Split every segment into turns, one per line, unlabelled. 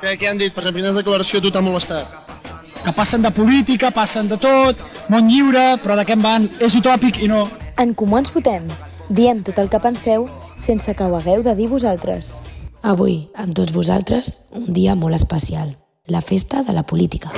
Què, què han dit? Per la primera declaració tu t'ha molestat.
que passen de política, passen de tot, món lliure, però de què en van? És utòpic i no.
En Comú Ens Fotem. Diem tot el que penseu sense que ho hagueu de dir vosaltres.
Avui, amb tots vosaltres, un dia molt especial. La festa de la política.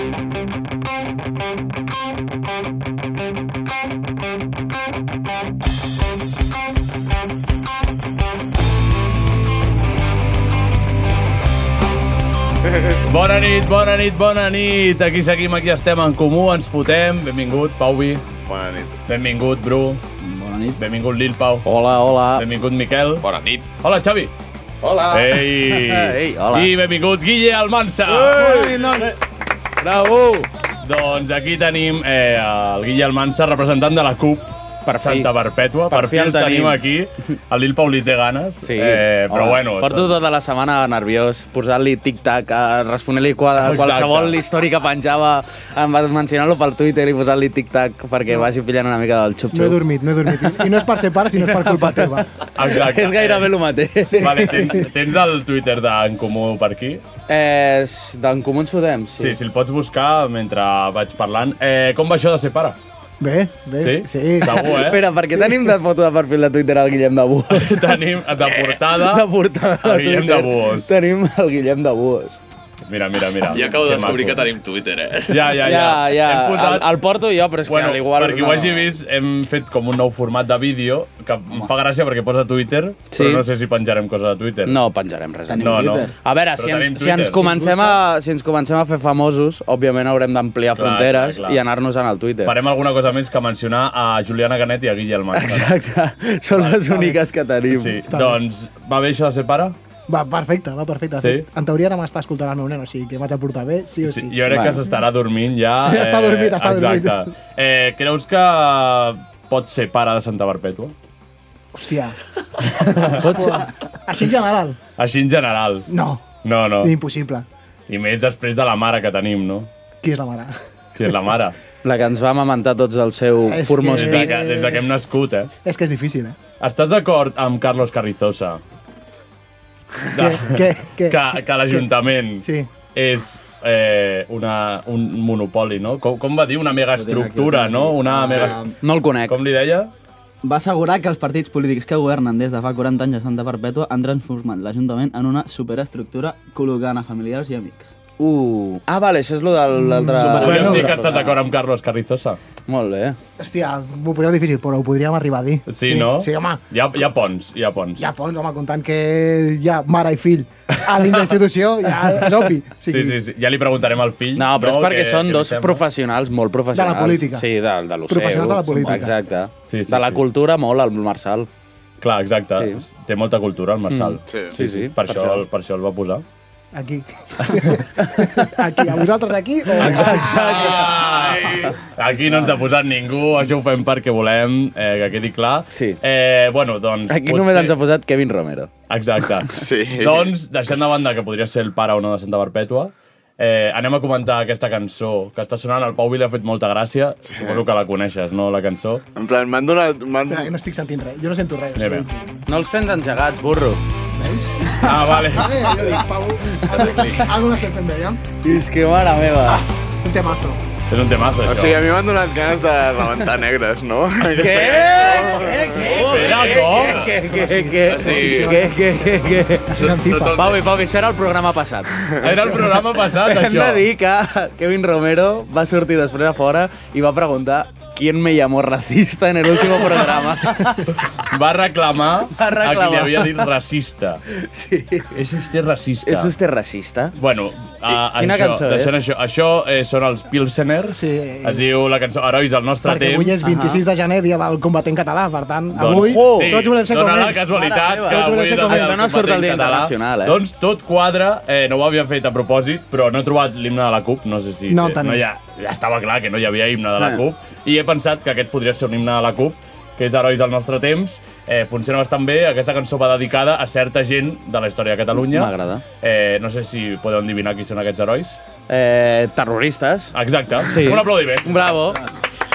Bona nit, bona nit, bona nit! Aquí seguim, aquí estem en comú, ens fotem. Benvingut, Pauvi.
Bona nit.
Benvingut, Bru. Bona nit. Benvingut, Lil Pau.
Hola, hola.
Benvingut, Miquel.
Bona nit.
Hola, Xavi.
Hola.
Ei!
Ei, hola.
I benvingut, Guille Almansa.
Ei, nois. Bravo!
Doncs aquí tenim eh, el Guille Almansa, representant de la CUP. Per
fi.
Santa Perpètua. Per,
Per
fi,
fi
el
el
tenim
tenim.
aquí. El Lil Pau li té ganes. Eh, però
Hola.
bueno...
Porto tota la setmana nerviós, posant-li tic-tac, eh, responent-li quada,
Exacte.
qualsevol història que penjava, em va mencionar-lo pel Twitter i posant-li tic-tac perquè vagi pillant una mica del
No he
xup-xup.
dormit, no he dormit. I- I no és per ser pare, sinó és per culpa teva.
Exacte. Eh,
És gairebé el mateix.
Vale, tens, tens el Twitter d'en Comú per aquí?
Eh, és d'en Comú ens fotem, sí.
Sí, si el pots buscar mentre vaig parlant. Eh, com va això de ser pare?
Bé, bé.
Sí?
Sí.
Segur, eh?
Espera, per què tenim de foto de perfil de Twitter al Guillem de Buos?
Tenim de portada...
De portada de
el Guillem de
Twitter.
Buos.
Tenim el Guillem de Buos.
Mira, mira, mira.
Jo acabo de
Que
descobrir que
maco.
tenim Twitter, eh?
Ja, ja, ja.
Ja, ja.
Hem
El, el porto jo, però és
Bueno,
que igual...
perquè ho hagi vist, hem fet com un nou format de vídeo que em fa gràcia perquè posa Twitter,
Sí.
però no sé si penjarem coses a Twitter.
No penjarem res.
no, no.
A veure,
Però
si
tenim
ens, si,
Twitter.
ens comencem a, si ens comencem a fer famosos, òbviament haurem d'ampliar
Clar,
fronteres
clar, clar.
i anar-nos en el Twitter.
Farem alguna cosa més que mencionar a Juliana Canet i a Guillem Exacte.
Exacte, són les úniques que tenim.
Sí, doncs, va bé això de ser pare?
Va, perfecte, va perfecte. De
Sí?
fet, En teoria ara m'està escoltant el meu nen, o sigui que m'haig de portar bé, sí o sí.
Sí, jo crec
Bueno.
que s'estarà dormint ja. eh,
Ja està dormit, està dormit.
Exacte. Eh, creus que pot ser pare de Santa Perpètua?
Hòstia. Pot ser. Així en general,
Així en general.
no.
No, no.
Impossible.
I més després de la mare que tenim, no?
Qui és la mare?
Que és la mare.
La que ens va amamentar tots del seu
És
formós
Des
Sí.
de,
pit.
que, des de que hem nascut, eh?
És que és difícil, eh?
Estàs d'acord amb Carlos Carrizosa
Què, què, què?
que, que l'Ajuntament
Sí.
és eh, una, un monopoli, no? Com, com va dir? Una megaestructura, no? Una mega...
No el conec.
Com li deia?
Va assegurar que els partits polítics que governen des de fa 40 anys a Santa Perpètua han transformat l'Ajuntament en una superestructura col·locant a familiars i amics.
Uh. Ah, vale, això és lo de l'altre...
Podríem dir que estàs d'acord amb Carlos Carrizosa?
Molt bé.
Hòstia, m'ho poseu difícil, però ho podríem arribar a dir.
Sí, no?
Sí, home.
Hi ha, hi ha ponts, hi ha ponts.
Ja pons, home, comptant que hi ha mare i fill a dins de la institució, ja és obvi. O
Sí, sí, sí. Ja li preguntarem al fill.
No, però és perquè
que-
són
que
dos
li sembla.
professionals molt professionals.
política.
Sí, de, de lo seu.
Professionals de la política.
Exacte.
Sí, sí,
de la
sí.
cultura molt, el Marçal.
Clar, exacte. Sí. Té molta cultura, el Marçal.
Sí.
Mm. Sí, sí,
Per,
per
això,
això.
El, per això el va posar.
Aquí. aquí, a vosaltres aquí o... Exacte.
Ai! Aquí no ens ha posat ningú, això ho fem perquè volem, eh, que quedi clar.
Sí.
Eh, bueno, doncs...
Aquí
pot
només
ser-
ens ha posat Kevin Romero.
Exacte.
Sí.
Doncs, deixant de banda que podria ser el pare o no de Santa Perpètua, Eh, anem a comentar aquesta cançó que està sonant. El Pau Vila ha fet molta gràcia. Suposo que la coneixes, no, la cançó?
En plan, m'han donat...
Espera, que no estic sentint res. Jo no sento res.
Bé, bé.
No els tens engegats, burro.
Ah, vale.
Eh, jo dic, Pau, algo no estem fent bé, ja?
És que, mare meva.
Un temazo.
És un temazo,
Ah, O
això.
sigui, a mi m'han donat ganes de rebentar negres, no? Què?
Espera, com?
Oh, Què, què, què?
Sí.
Què, què, què, què?
Això és antifa.
Tot-
Pau, i Pau, i això era el programa passat.
Era el programa passat,
Hem
això.
de dir que Kevin Romero va sortir després a fora i va preguntar ¿Quién me llamó racista en el último programa?
Va reclamar,
Va reclamar.
a qui li havia dit racista.
Sí.
És vostè racista.
¿Es usted racista?
Bueno, a,
quina
això,
cançó
deixant
és?
Això, això eh, són els Pilsener.
Sí.
Es diu la cançó Herois del nostre
Perquè
temps.
avui és 26 de gener, dia del combatent català, per tant,
Doncs,
avui
sí,
tots volem ser com
dona la
ells.
casualitat
Mare
que
meva.
avui... doncs
Tots
de-
volem ser com ells.
del
Això no surt
combatent
al Dia
català.
Internacional, eh?
Doncs tot quadra, eh, no ho havia fet a propòsit, però no he trobat l'himne de la CUP, no sé si...
No el
eh,
tenim.
no ja, ja estava clar que no hi havia himne de la
Ah.
CUP, i he pensat que aquest podria ser un himne de la CUP, que és Herois del nostre temps, eh, funciona bastant bé, aquesta cançó va dedicada a certa gent de la història de Catalunya.
M'agrada.
Eh, no sé si podeu endivinar qui són aquests herois.
Eh, terroristes.
Exacte,
Sí.
un aplaudiment.
Bravo.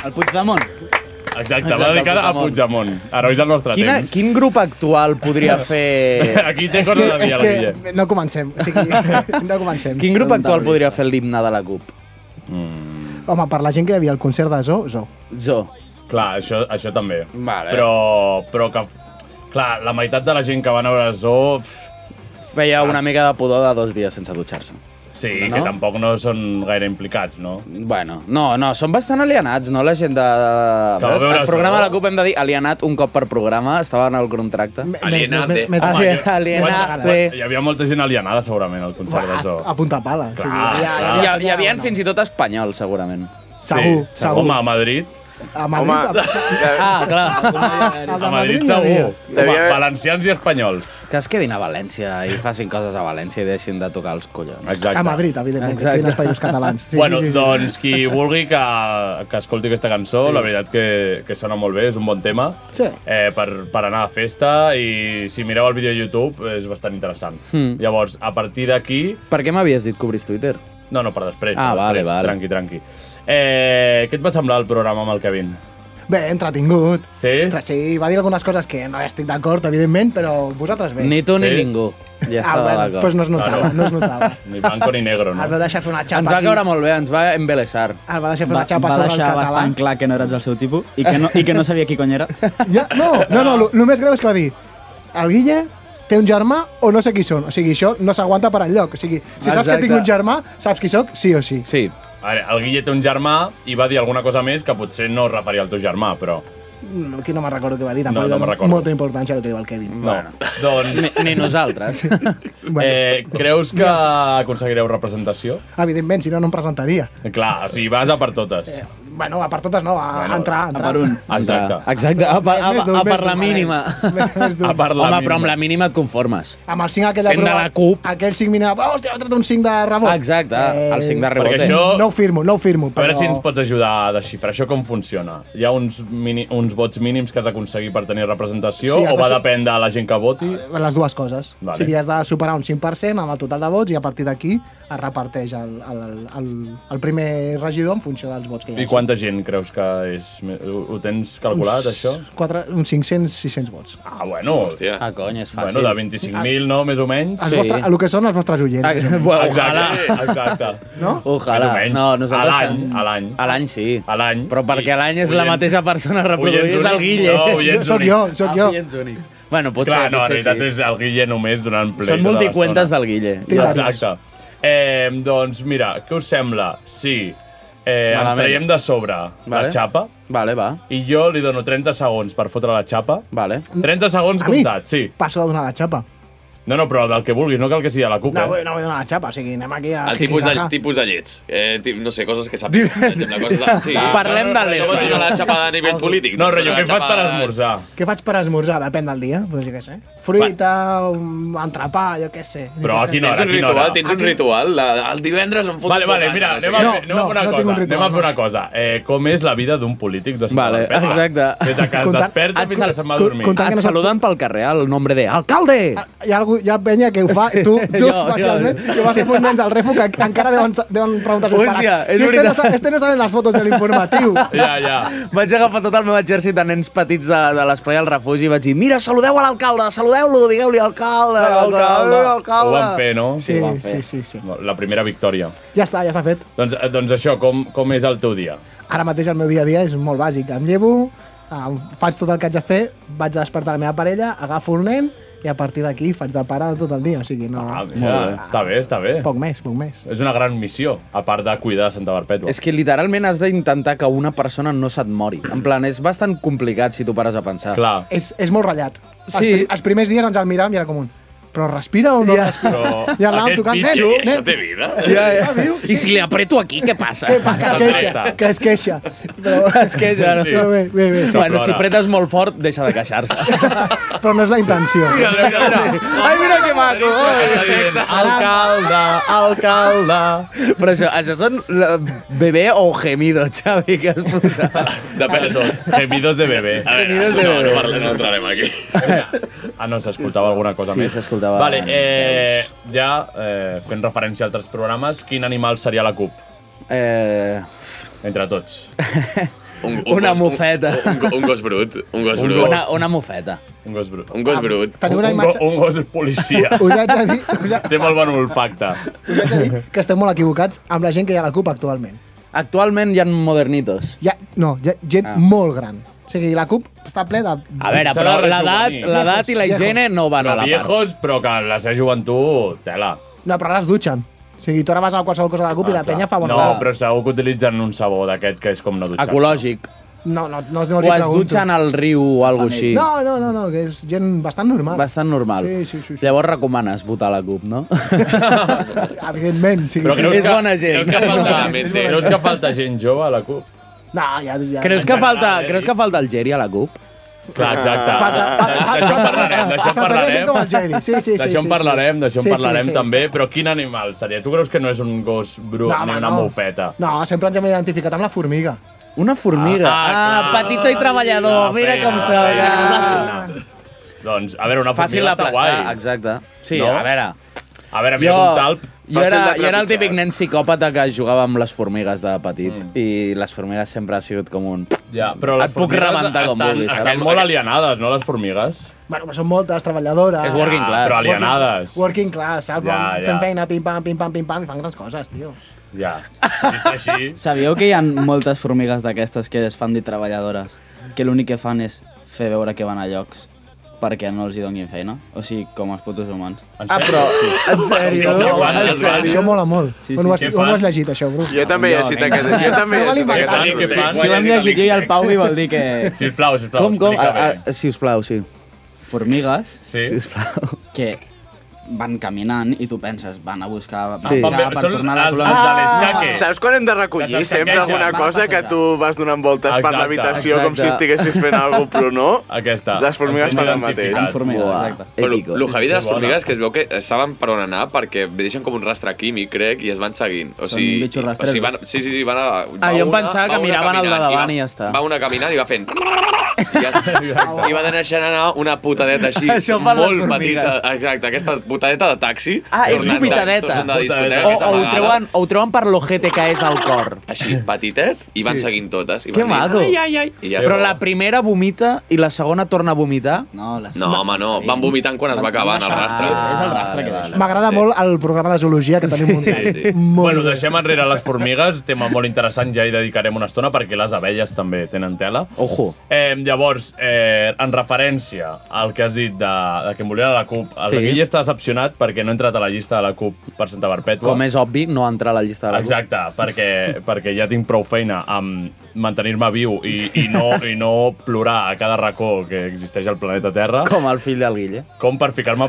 El Puigdemont.
Exacte,
Exacte,
va dedicada a Puigdemont. Herois del nostre
Quina,
temps.
quin grup actual podria fer...
Aquí té
És que,
cosa de
és
dia, la Guille.
que no comencem. O sigui, no comencem. Doncs,
Quin grup actual podria fer l'himne de la CUP?
Home, per la gent que hi havia al concert de Zoo, Zoo.
Zo.
Clar, això, això també.
Vale.
Però, però que... Clar, la meitat de la gent que va anar a veure Zoo... pff,
Feia una mica de pudor de dos dies sense dutxar-se.
Sí,
No?
no? que tampoc no són gaire implicats, no?
Bueno, no, no, són bastant alienats, no, la gent de...
Que va veure
El programa
Zoo.
de la CUP hem de dir alienat un cop per programa, estava en el contracte. Ah,
M- més-
Alienante.
més-
Ah,
més- més-
Home,
més-
alienate.
més-
Hi havia molta gent alienada, segurament, al concert de Ah, Zoo.
A, a punta pala.
Clar,
o sigui, ja-
clar.
Hi, ha- hi havia
no.
fins i tot espanyols, segurament.
Segur,
sí.
segur.
Home, a Madrid...
A
Home,
Madrid,
Ah, clar.
a, a,
A Madrid,
hi havia.
segur. Home,
Devia haver-
valencians i espanyols.
Que es quedin a València i facin coses a València i deixin de tocar els collons.
Exacte.
A Madrid, evidentment, que
Exacte.
estigui en els països catalans. Sí,
bueno,
sí, sí, sí.
doncs qui vulgui que, que escolti aquesta cançó, sí. la veritat que, que sona molt bé, és un bon tema
Sí.
eh, per, per anar a festa i si mireu el vídeo a YouTube és bastant interessant. Mm. Llavors, a partir d'aquí...
Per què m'havies dit que obris Twitter?
No, no, per després.
Ah,
per
vale,
després,
vale.
Tranqui, tranqui. Eh, què et va semblar el programa amb el Kevin?
Bé, entretingut.
Sí?
Ostres, Sí, va dir algunes coses que no estic d'acord, evidentment, però vosaltres bé.
Ni tu ni
Sí.
ningú. Ja estava d'acord.
Doncs no es notava, no es notava.
Ni blanco ni negro, no?
El va deixar fer una xapa
Ens va
aquí.
caure molt bé, ens va embelesar.
El va deixar fer
Va,
una xapa
va
sobre el
deixar
català.
bastant clar que no eres el seu tipus i que no, i que no sabia qui cony eres.
Ja, no, no, no, el més greu és que va dir el Guille té un germà o no sé qui són. O sigui, això no s'aguanta per enlloc. O sigui, si saps
Exacte.
que tinc un germà, saps qui sóc, sí o sí.
Sí.
A veure, el Guille té un germà i va dir alguna cosa més que potser no es referia al teu germà, però...
Mm, Aquí no me'n recordo què va dir,
No, no
tampoc
me'n
dono
recordo.
molta importància al que diu el Kevin.
No. Doncs,
Ni, ni nosaltres.
Ah,
eh, creus que aconseguireu representació?
Evidentment, si no, no em presentaria.
Clar, o sigui, vas a per totes.
Bueno, a per totes no, a,
Bueno,
a entrar, a entrar.
per un.
Exacte.
Exacte, a, per- a,
Més d'un,
a, a per
més
la
d'un,
mínima.
Més- més d'un.
A part la
Home,
mínima.
però amb la mínima et conformes.
Amb el 5 aquell
Sent de
prova-
la CUP.
Aquell 5 mínima, oh, hòstia, ha tret un 5 de rebot.
Exacte,
Eh.
el 5 de
Perquè
rebote.
això-
No ho firmo, no ho firmo.
A
Però...
veure si ens pots ajudar a desxifrar això com funciona. Hi ha uns, mini, uns vots mínims que has d'aconseguir per tenir representació sí,
Sí, has
o
de
va
ser-
depèn de la gent que voti?
les dues coses.
Vale.
Vale. O sigui, has de superar un 5% amb el total de vots i a partir d'aquí es reparteix el, el, el, el primer regidor en funció dels vots que hi
I
ha.
quanta gent creus que és? Ho, ho tens calculat, això?
Quatre, uns 500-600 vots.
Ah, bueno, Hòstia,
Ah, cony, és fàcil.
bueno de 25.000, no?, més o menys?
Sí.
Els Ah, sí. vostres, el que són els vostres oients.
Ah, bueno,
Exacte,
ojalà.
exacte.
No?
Ojalà.
Més o menys.
No, nosaltres...
A l'any, a l'any.
A l'any, sí.
A l'any.
Però perquè
I
a l'any és la
oients-
mateixa persona reproduïda,
oients
és el
únics,
Guille.
No,
Jo,
oients
sóc
únics.
jo, sóc jo.
únics. Bueno, potser,
Clar, no, en
potser
realitat
sí.
és el Guille només donant play.
Són
tota
multicuentes
l'estona.
del Guille.
Tira.
Exacte. Eh, doncs mira, què us sembla si eh, ens
Malament.
traiem de sobre vale. la
Vale.
xapa
Vale, va.
i jo li dono 30 segons per fotre la xapa?
Vale.
30 segons
A mi?
comptats, sí.
Passo de donar la xapa.
No, no, però del que vulguis, no cal que sigui a la CUP,
No,
eh?
vull, no vull donar la xapa, o sigui, anem aquí a...
El tipus de,
jijijaja.
tipus de llets. Eh, ti- no sé, coses que sap. per exemple, coses de, sí,
Parlem
no,
de
no, No
l'Elfa.
pots donar la xapa a nivell polític.
No,
doncs
rotllo,
donar
què
la
fas
xapa-
per esmorzar?
Què faig per esmorzar? Depèn del dia, però jo què sé. Fruita, un entrepà, jo què sé. Jo
Però
què sé.
aquí no,
Tens un
aquí no.
ritual, tens un ritual. La, el divendres em fot
Vale, vale, mira, anem a,
No,
fer- anem a
no,
fer una
no tinc
cosa.
un ritual,
anem a fer
no.
una cosa. Eh, com és la vida d'un polític Doncs de Santa
Vale,
Perpètua?
exacte.
Des de que es
Compta-
desperta fins que se'n va a
co-
dormir.
compta- Tant que
Et
no sap-
saluden pel carrer el nombre de... Alcalde!
Hi ha algú, hi ha penya que ho fa,
Sí,
tu, tu
jo,
especialment,
jo.
que vas amb un nen del refo que encara deuen, deuen preguntar als seus
Hòstia, és
pares. Si este no,
veritat.
sa- este no salen les fotos de l'informatiu.
ja.
Vaig agafar tot el meu exèrcit de nens petits de, de l'esplai al refugi i vaig dir, mira, saludeu a l'alcalde, saludeu-lo, digueu-li alcalde, alcalde,
Ho
alcalde.
van fer, no?
Sí, Ho van fer. sí, sí,
La primera victòria.
Ja està, ja està fet.
Doncs, eh, doncs això, com, com és el teu dia?
Ara mateix el meu dia a dia és molt bàsic. Em llevo, em faig tot el que haig de fer, vaig a despertar la meva parella, agafo el nen i a partir d'aquí faig de pare tot el dia. O sigui, no... Ah,
Ja, està bé, està bé.
Poc més, poc més.
És una gran missió, a part de cuidar Santa Barpètua.
És que literalment has d'intentar que una persona no se't mori. En plan, és bastant complicat si tu pares a pensar.
Clar.
És, és molt ratllat. Els,
Sí.
pri- els primers dies ens el miràvem i era com un... Però respira o no
Ja.
respira?
Però
I anàvem
aquest
tocant... Nen,
bitxo,
nen,
això té
vida.
Ja, ja.
Ah, viu?
I si li apreto aquí, què passa?
Que, pa- que es queixa, que es queixa. Però,
Es queixa, no?
Sí. Però bé, bé, bé.
Bueno, si apretes molt fort, deixa de queixar-se.
Però no és la intenció.
Ai, mira que maco!
Alcalde, alcalde...
Però això, això són la- bebé o gemido, Xavi, que has posat.
Depèn de tot. Gemidos de bebé.
A veure, no, no, parlem, no entrarem aquí.
Ah, no, s'escoltava alguna cosa
Sí,
més.
s'escoltava.
Vale, eh,
Doncs-
ja eh, fent referència a altres programes, quin animal seria la CUP?
Eh...
Entre tots.
Un,
Una
gos-
mofeta.
Un, un, un gos brut. Un gos brut.
Una, una mofeta.
Un gos brut.
Un gos brut.
teniu una
Un
imatge-
go- Un, gos policia.
Us haig de dir, us haig,
Té molt bon olfacte.
us haig de dir que estem molt equivocats amb la gent que hi ha a la CUP actualment.
Actualment hi ha modernitos.
Hi ha, no, hi ha gent
Ah.
ah. molt gran. O sigui, la CUP està ple de...
A veure,
S'ha
però
de
l'edat
rejuvenir.
l'edat i la
Viejos,
higiene no van a
Però
la part.
viejos, però que la seva joventut, tela.
No, però ara es dutxen. O sigui, tu ara vas a qualsevol cosa de la CUP ah, i la
clar.
penya fa bon
No, però segur que utilitzen un sabó d'aquest que és com no dutxar-se.
Ecològic.
no, no, no,
O
no els hi
es
pregunto.
dutxen al riu o alguna així.
No, no, no, no, que és gent bastant normal.
Bastant normal.
Sí, sí, sí, sí.
Llavors recomanes votar la CUP, no?
Evidentment, sí.
Però
sí.
creus
És
que,
bona gent.
Creus que, falta,
Claramente.
creus que falta gent jove a la CUP?
No, ja, ja.
Creus que
En general,
falta,
eh,
creus que falta Algèria a la CUP?
Clar, exacte.
Falta- fa-
D'això en
falta-
parlarem, d'això en
falta gent com el
parlarem.
Jerry. Sí, sí, sí,
D'això
sí,
en
sí.
parlarem, d'això en
Sí, sí,
parlarem
sí,
també, però quin animal seria? Tu creus que no és un gos brut
No,
ni
home,
una
no.
mofeta?
No, sempre ens hem identificat amb la formiga.
Una formiga.
Ah,
Ah, petito i treballador, mira
pena,
com
la
sóc.
pena.
ah.
Doncs, a veure, una
Fàcil
formiga està guai.
d'aplastar, exacte. Sí,
No?
a veure,
A veure, mira, un talp.
jo
Fàcil
era,
de
jo era el
trepitjar.
típic nen psicòpata que jugava amb les formigues de petit mm. i les formigues sempre ha sigut com un...
Ja, però les
Et puc
formigues
rebentar com
estan,
vulguis,
Estan
saps?
molt alienades, no, les formigues? Ah,
Bueno, però són moltes, treballadores...
És working class.
Però alienades.
Working class, saps?
Ja,
Ja,
ja.
ja. Fent feina, pim-pam, pim-pam, pim-pam, i fan grans coses, tio.
Ja. Vist així...
Sabíeu que hi ha moltes formigues d'aquestes que es fan dir treballadores, que l'únic que fan és fer veure que van a llocs perquè no els hi donguin feina? O sigui, com els putos humans.
En
Ah, però... En sèrio?
Sí, sí,
En
sí, Ah, sí.
sèrio?
Això mola molt.
Sí, sí.
on, ho has,
Què
on
fan?
ho has llegit, això, Bru?
Jo també he
No,
llegit
vinga.
aquest. Jo també he
No
llegit
val
aquest.
inventar-se,
article.
sí,
eh? Si ho hem llegit jo i el Pau i vol dir que
Sisplau, sisplau,
Com, com?
explica
Ah,
bé.
ah, sisplau, sí.
formigues
Sí.
que van caminant i tu penses, van a buscar, van
Sí.
sí.
Fan bé-
per
són
tornar a la
els-
colònia.
els de l'escaque.
Ah, Saps quan hem de recollir
Les
sempre
escaqueja.
alguna
Va,
cosa
passa
que
allà.
tu vas donant voltes per
Exacte,
l'habitació com si
exacte.
estiguessis fent alguna cosa, però no?
Aquesta.
Les formigues
Em sento
fan el
identificat.
mateix.
Amb formigues,
Buah,
exacte.
Bueno,
épico.
lo heavy de les
Bona.
formigues que es veu que eh, saben per on anar perquè deixen com un rastre químic, crec, i es van seguint. O
Són
sigui,
bitxos
o sigui van, sí, sí, sí, van a...
Ah,
va
jo em
una-
pensava
va
que
una
miraven el de
caminant
davant
va-
i ja està.
Va una caminant i va fent... I, ja, I va deixant anar una putadeta així,
Això per les
molt
formigues.
petita. Exacte, aquesta putadeta de taxi.
Ah, és
tornant de-
vomitadeta.
tornant de discoteca,
O,
que
o, ho
s'amagava.
treuen, o ho treuen per l'ojete que és el cor.
Així, petitet, i van seguint totes. I
Que
van
maco.
Ai, ai, ai. I ja
Però
està.
la primera vomita i la segona torna a vomitar.
No, les...
No, home, no. Van vomitant quan es va acabant el rastre.
Ah, és el rastre que deixa.
M'agrada
Sí.
molt el programa de zoologia que tenim muntat.
Sí, sí.
Molt
Bueno,
bé.
deixem enrere les formigues, tema molt interessant, ja hi dedicarem una estona perquè les abelles també tenen tela.
Ojo.
Eh, llavors, eh, en referència al que has dit de, de que em volia la CUP, el sí.
Sí.
Guille està decepcionat perquè no ha entrat a la llista de la CUP per Santa Perpètua.
Com és obvi, no entra a la llista de la
Exacte, perquè, perquè ja tinc prou feina amb mantenir-me viu i, i, no, i no plorar a cada racó que existeix al planeta Terra.
Com el fill del Guille.
Com per ficar-me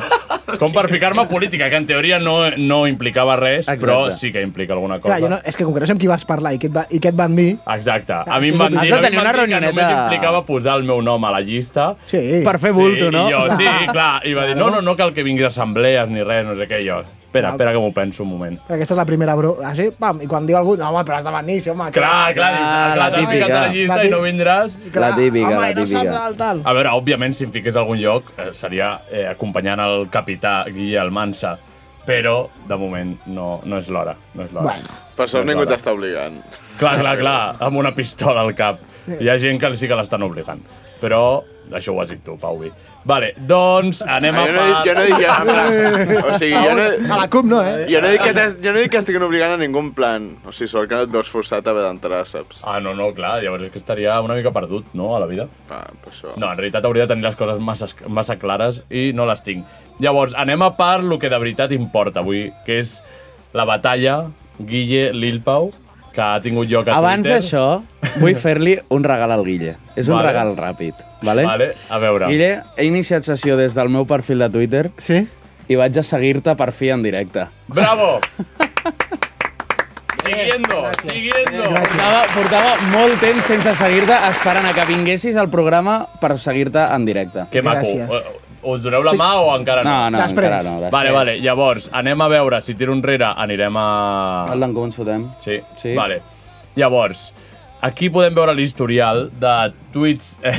com per ficar-me a política, que en teoria no, no implicava res, Exacte. però
Exacte.
sí que implica alguna cosa.
Clar, jo no, és que com que no sé amb qui vas parlar i què et, va, i què et van dir...
Exacte. A
Ah,
mi
sí,
em van
has
dir,
de
a mi
tenir
em van
una
dir que només
reunioneta.
implicava posar el meu nom a la llista.
Sí.
Per fer bulto,
sí,
no?
I jo, sí, clar. I va dir, no, no, no cal que vingui a assemblees ni res, no sé què. I jo, Espera, espera que m'ho penso un moment.
Aquesta és la primera bro... Així, pam, i quan diu algú, no, home, però has de venir, sí, home.
Clar, clar, ah, la típica. a la llista i no vindràs.
Clar, La típica, home, la i no saps típica. el tal.
A veure, òbviament, si em fiqués a algun lloc, eh, seria eh, acompanyant el capità Guille Almansa, però, de moment, no, no és l'hora. No és l'hora. Bueno.
Per sort ningú t'està obligant.
Clar, clar, clar, amb una pistola al cap. Hi ha gent que sí que l'estan obligant. Però això ho has dit tu, Pauvi. Vale, doncs anem a...
jo no he dit- jo no he dit que- O sigui, jo no he-
A la CUP no, eh?
Jo no he dit que, t'has- jo no he dit que estiguin obligant a ningú en plan. O sigui, sort que no et veus forçat a haver d'entrar, saps?
Ah, no, no, clar, llavors és que estaria una mica perdut, no?, a la vida.
Ah, pues això.
No, en realitat hauria de tenir les coses massa, massa clares i no les tinc. Llavors, anem a part lo que de veritat importa avui, que és la batalla Guille-Lilpau, que ha tingut lloc a
Abans
Twitter.
d'això, vull fer-li un regal al Guille. És un
Vale.
regal ràpid, vale?
Vale, a veure.
eh? Guille, he iniciat sessió des del meu perfil de Twitter
sí?
i vaig a seguir-te per fi en directe.
Bravo! Siguiendo, siguiendo.
Portava, portava molt temps sense seguir-te, esperant a que vinguessis al programa per seguir-te en directe.
Que maco. Eh, Us doneu la mà o encara no?
No, no, Després. encara no, després.
Vale, vale, llavors, anem a veure, si tiro enrere anirem a... El
d'en Comú ens fotem.
Sí, sí. vale. Llavors, aquí podem veure l'historial de tuits, eh,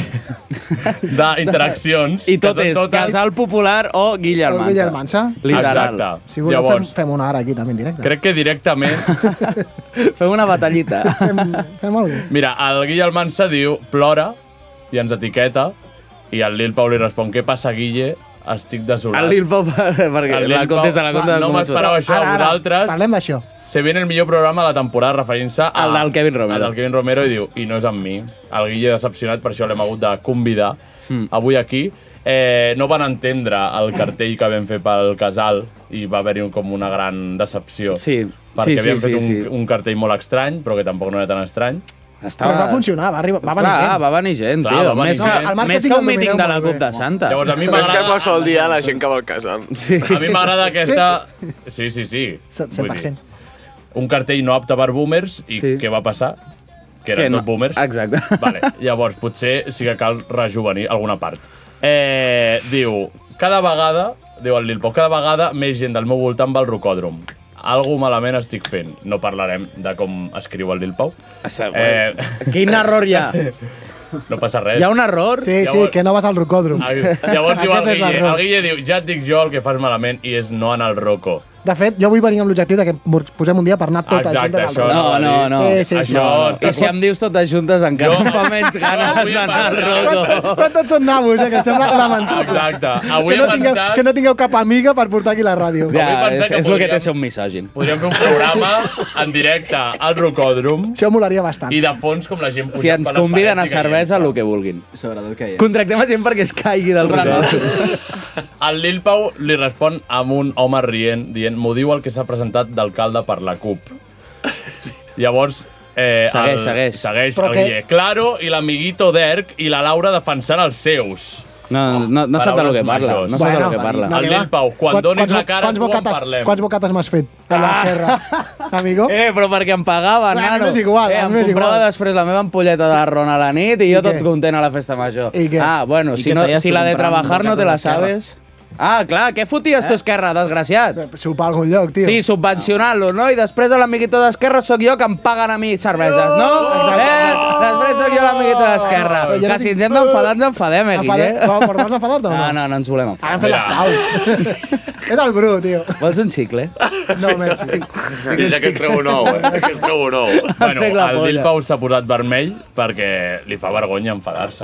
d'interaccions.
I tot
que són
és Casal Popular o Guille
O
Almansa.
Guille Almansa.
Literal.
Exacte.
Si voleu, Llavors... fem, fem una ara aquí també en directe.
Crec que directament...
Fem una batallita.
Fem alguna
Mira, el Guille Almansa diu plora i ens etiqueta i el Lil Pau li respon què passa, Guille? Estic desolat.
El Lil Pau, perquè
El Lil
la
Pau-
contesta, la
Va,
contesta.
no m'esperava això,
Ara, ara,
vosaltres-
Parlem d'això.
Se viene el millor programa de la temporada referint-se al del
Kevin Romero.
Al del Kevin Romero i diu, i no és amb mi. El Guille decepcionat, per això l'hem hagut de convidar
Mm.
avui aquí. Eh, no van entendre el cartell que vam fer pel casal i va haver-hi un- com una gran decepció.
Sí,
perquè
sí,
havíem
sí,
fet
sí,
un,
sí.
un cartell molt estrany, però que tampoc no era tan estrany.
Però va funcionar, va, arribar, va venir
Clar,
gent.
va venir gent,
Clar,
tio.
va venir
Més
gent.
que,
El
més
màrqueting
que
el
un míting de
domineu
la
molt
CUP de Santa.
Llavors, a mi
Ah.
Més que
m'agrada-
qualsevol dia la gent que va al casal.
Sí.
A mi m'agrada aquesta... Sí, sí, sí. Vull dir,
100%.
Un cartell no apte per boomers i sí. què va passar? Que eren
Que no.
tot boomers.
Exacte.
Vale, llavors, potser sí que cal rejuvenir alguna part. Eh, diu, cada vegada, diu el Lilpo, cada vegada més gent del meu voltant va al rocòdrom. Algo malament estic fent. No parlarem de com escriu el Lil Pau.
Ah,
Eh,
Quin error hi ha?
no passa res.
Hi ha un error?
Sí, sí, que no vas al rocòdrom.
Ai, Llavors diu el
Aquest és
Guille,
l'error.
el Guille diu, ja et dic jo el que fas malament i és no anar al roco.
De fet, jo vull venir amb l'objectiu de que ens posem un dia per anar totes
Exacte,
juntes al
això
rocòdrom.
No, no, no.
Sí, sí, sí.
Això
No, no.
està
I si em dius totes juntes encara em fa menys ganes d'anar al roco.
Però tots són nabos, eh, que em sembla lamentable.
Exacte. Avui
que, no
he
tingueu,
pensat-
que no tingueu cap amiga per portar aquí la ràdio.
Ja,
que
és, és el que té
podríem-
ser un misògin.
Podríem fer un programa en directe al Rocòdrom
Això molaria bastant.
i de fons com la gent
Si
pujant
ens
per les
conviden a
parets i caient.
cervesa, el que vulguin.
Sobretot que hi ha.
Contractem a gent perquè es caigui del rocòdrom.
El Lil Pau li respon amb un home rient, dient m'ho diu el que s'ha presentat d'alcalde per la CUP. Llavors, eh,
Segueix,
el,
segueix.
Segueix
Però
el
que-
Guille. Claro i l'amiguito d'Erc i la Laura defensant els seus.
No, no, no sap de lo que parla. No sap de lo que parla.
El Lil Pau, quan
Quants-
donis
quants
la
bo-
cara,
quants
tu en
bocates-
parlem.
Quants bocates m'has fet a l'esquerra, amigo?
Ah. Eh, però perquè em pagava,
Bueno,
nano.
m'és igual,
eh, em
m'és
comprava
igual.
després la meva ampolleta de ron a la nit i jo
I
tot
què?
content a la festa major.
I què?
Ah, bueno,
I
si,
què
no,
feies
si
tu
la de
comprant Eh?
trabajar no te
bocates
la
d'esquerra?
sabes... Ah, clar, què foties tu, Esquerra, desgraciat?
Sopar a algun lloc, tio.
Sí, subvencionant-lo, no? I després de l'amiguito d'Esquerra sóc jo que em paguen a mi cerveses, no? Eh? Després sóc jo l'amiguito d'Esquerra.
Però jo no
Que si
tinc-
ens hem d'enfadar, ens enfadem, eh,
Enfadem-
Guille? Ah,
No, però vas enfadar-te o no?
No, no, no ens volem enfadar.
Ara hem fet les paus. És el Bru, tio.
Vols un xicle?
No, merci.
I ja que es treu un ou, eh? Ja que es treu un ou.
Bueno,
Arregla
el
polla.
Lil Pau s'ha posat vermell perquè li fa vergonya enfadar-se.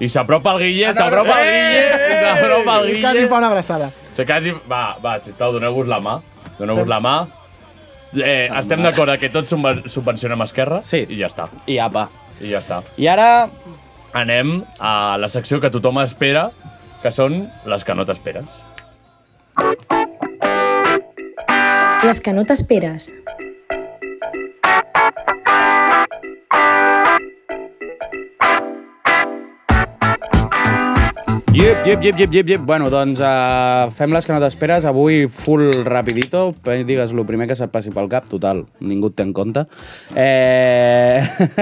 I s'apropa el
Ah,
Guille, s'apropa
eh,
el Guille, s'apropa el Guille.
Quasi fa una abraçada.
Se quasi... Va, va, sisplau, doneu-vos la mà. Doneu-vos la mà. Eh, estem d'acord que tots subven- subvencionem Esquerra? Sí. I ja està.
I apa.
I ja està.
I ara...
Anem a la secció que tothom espera, que són les que no t'esperes.
Les que no t'esperes.
Yep, yep, yep, yep, yep, yep. Bueno, doncs uh, fem les que no t'esperes. Avui full rapidito. Pe- Digues el primer que se't passi pel cap. Total, ningú et té en compte. Eh...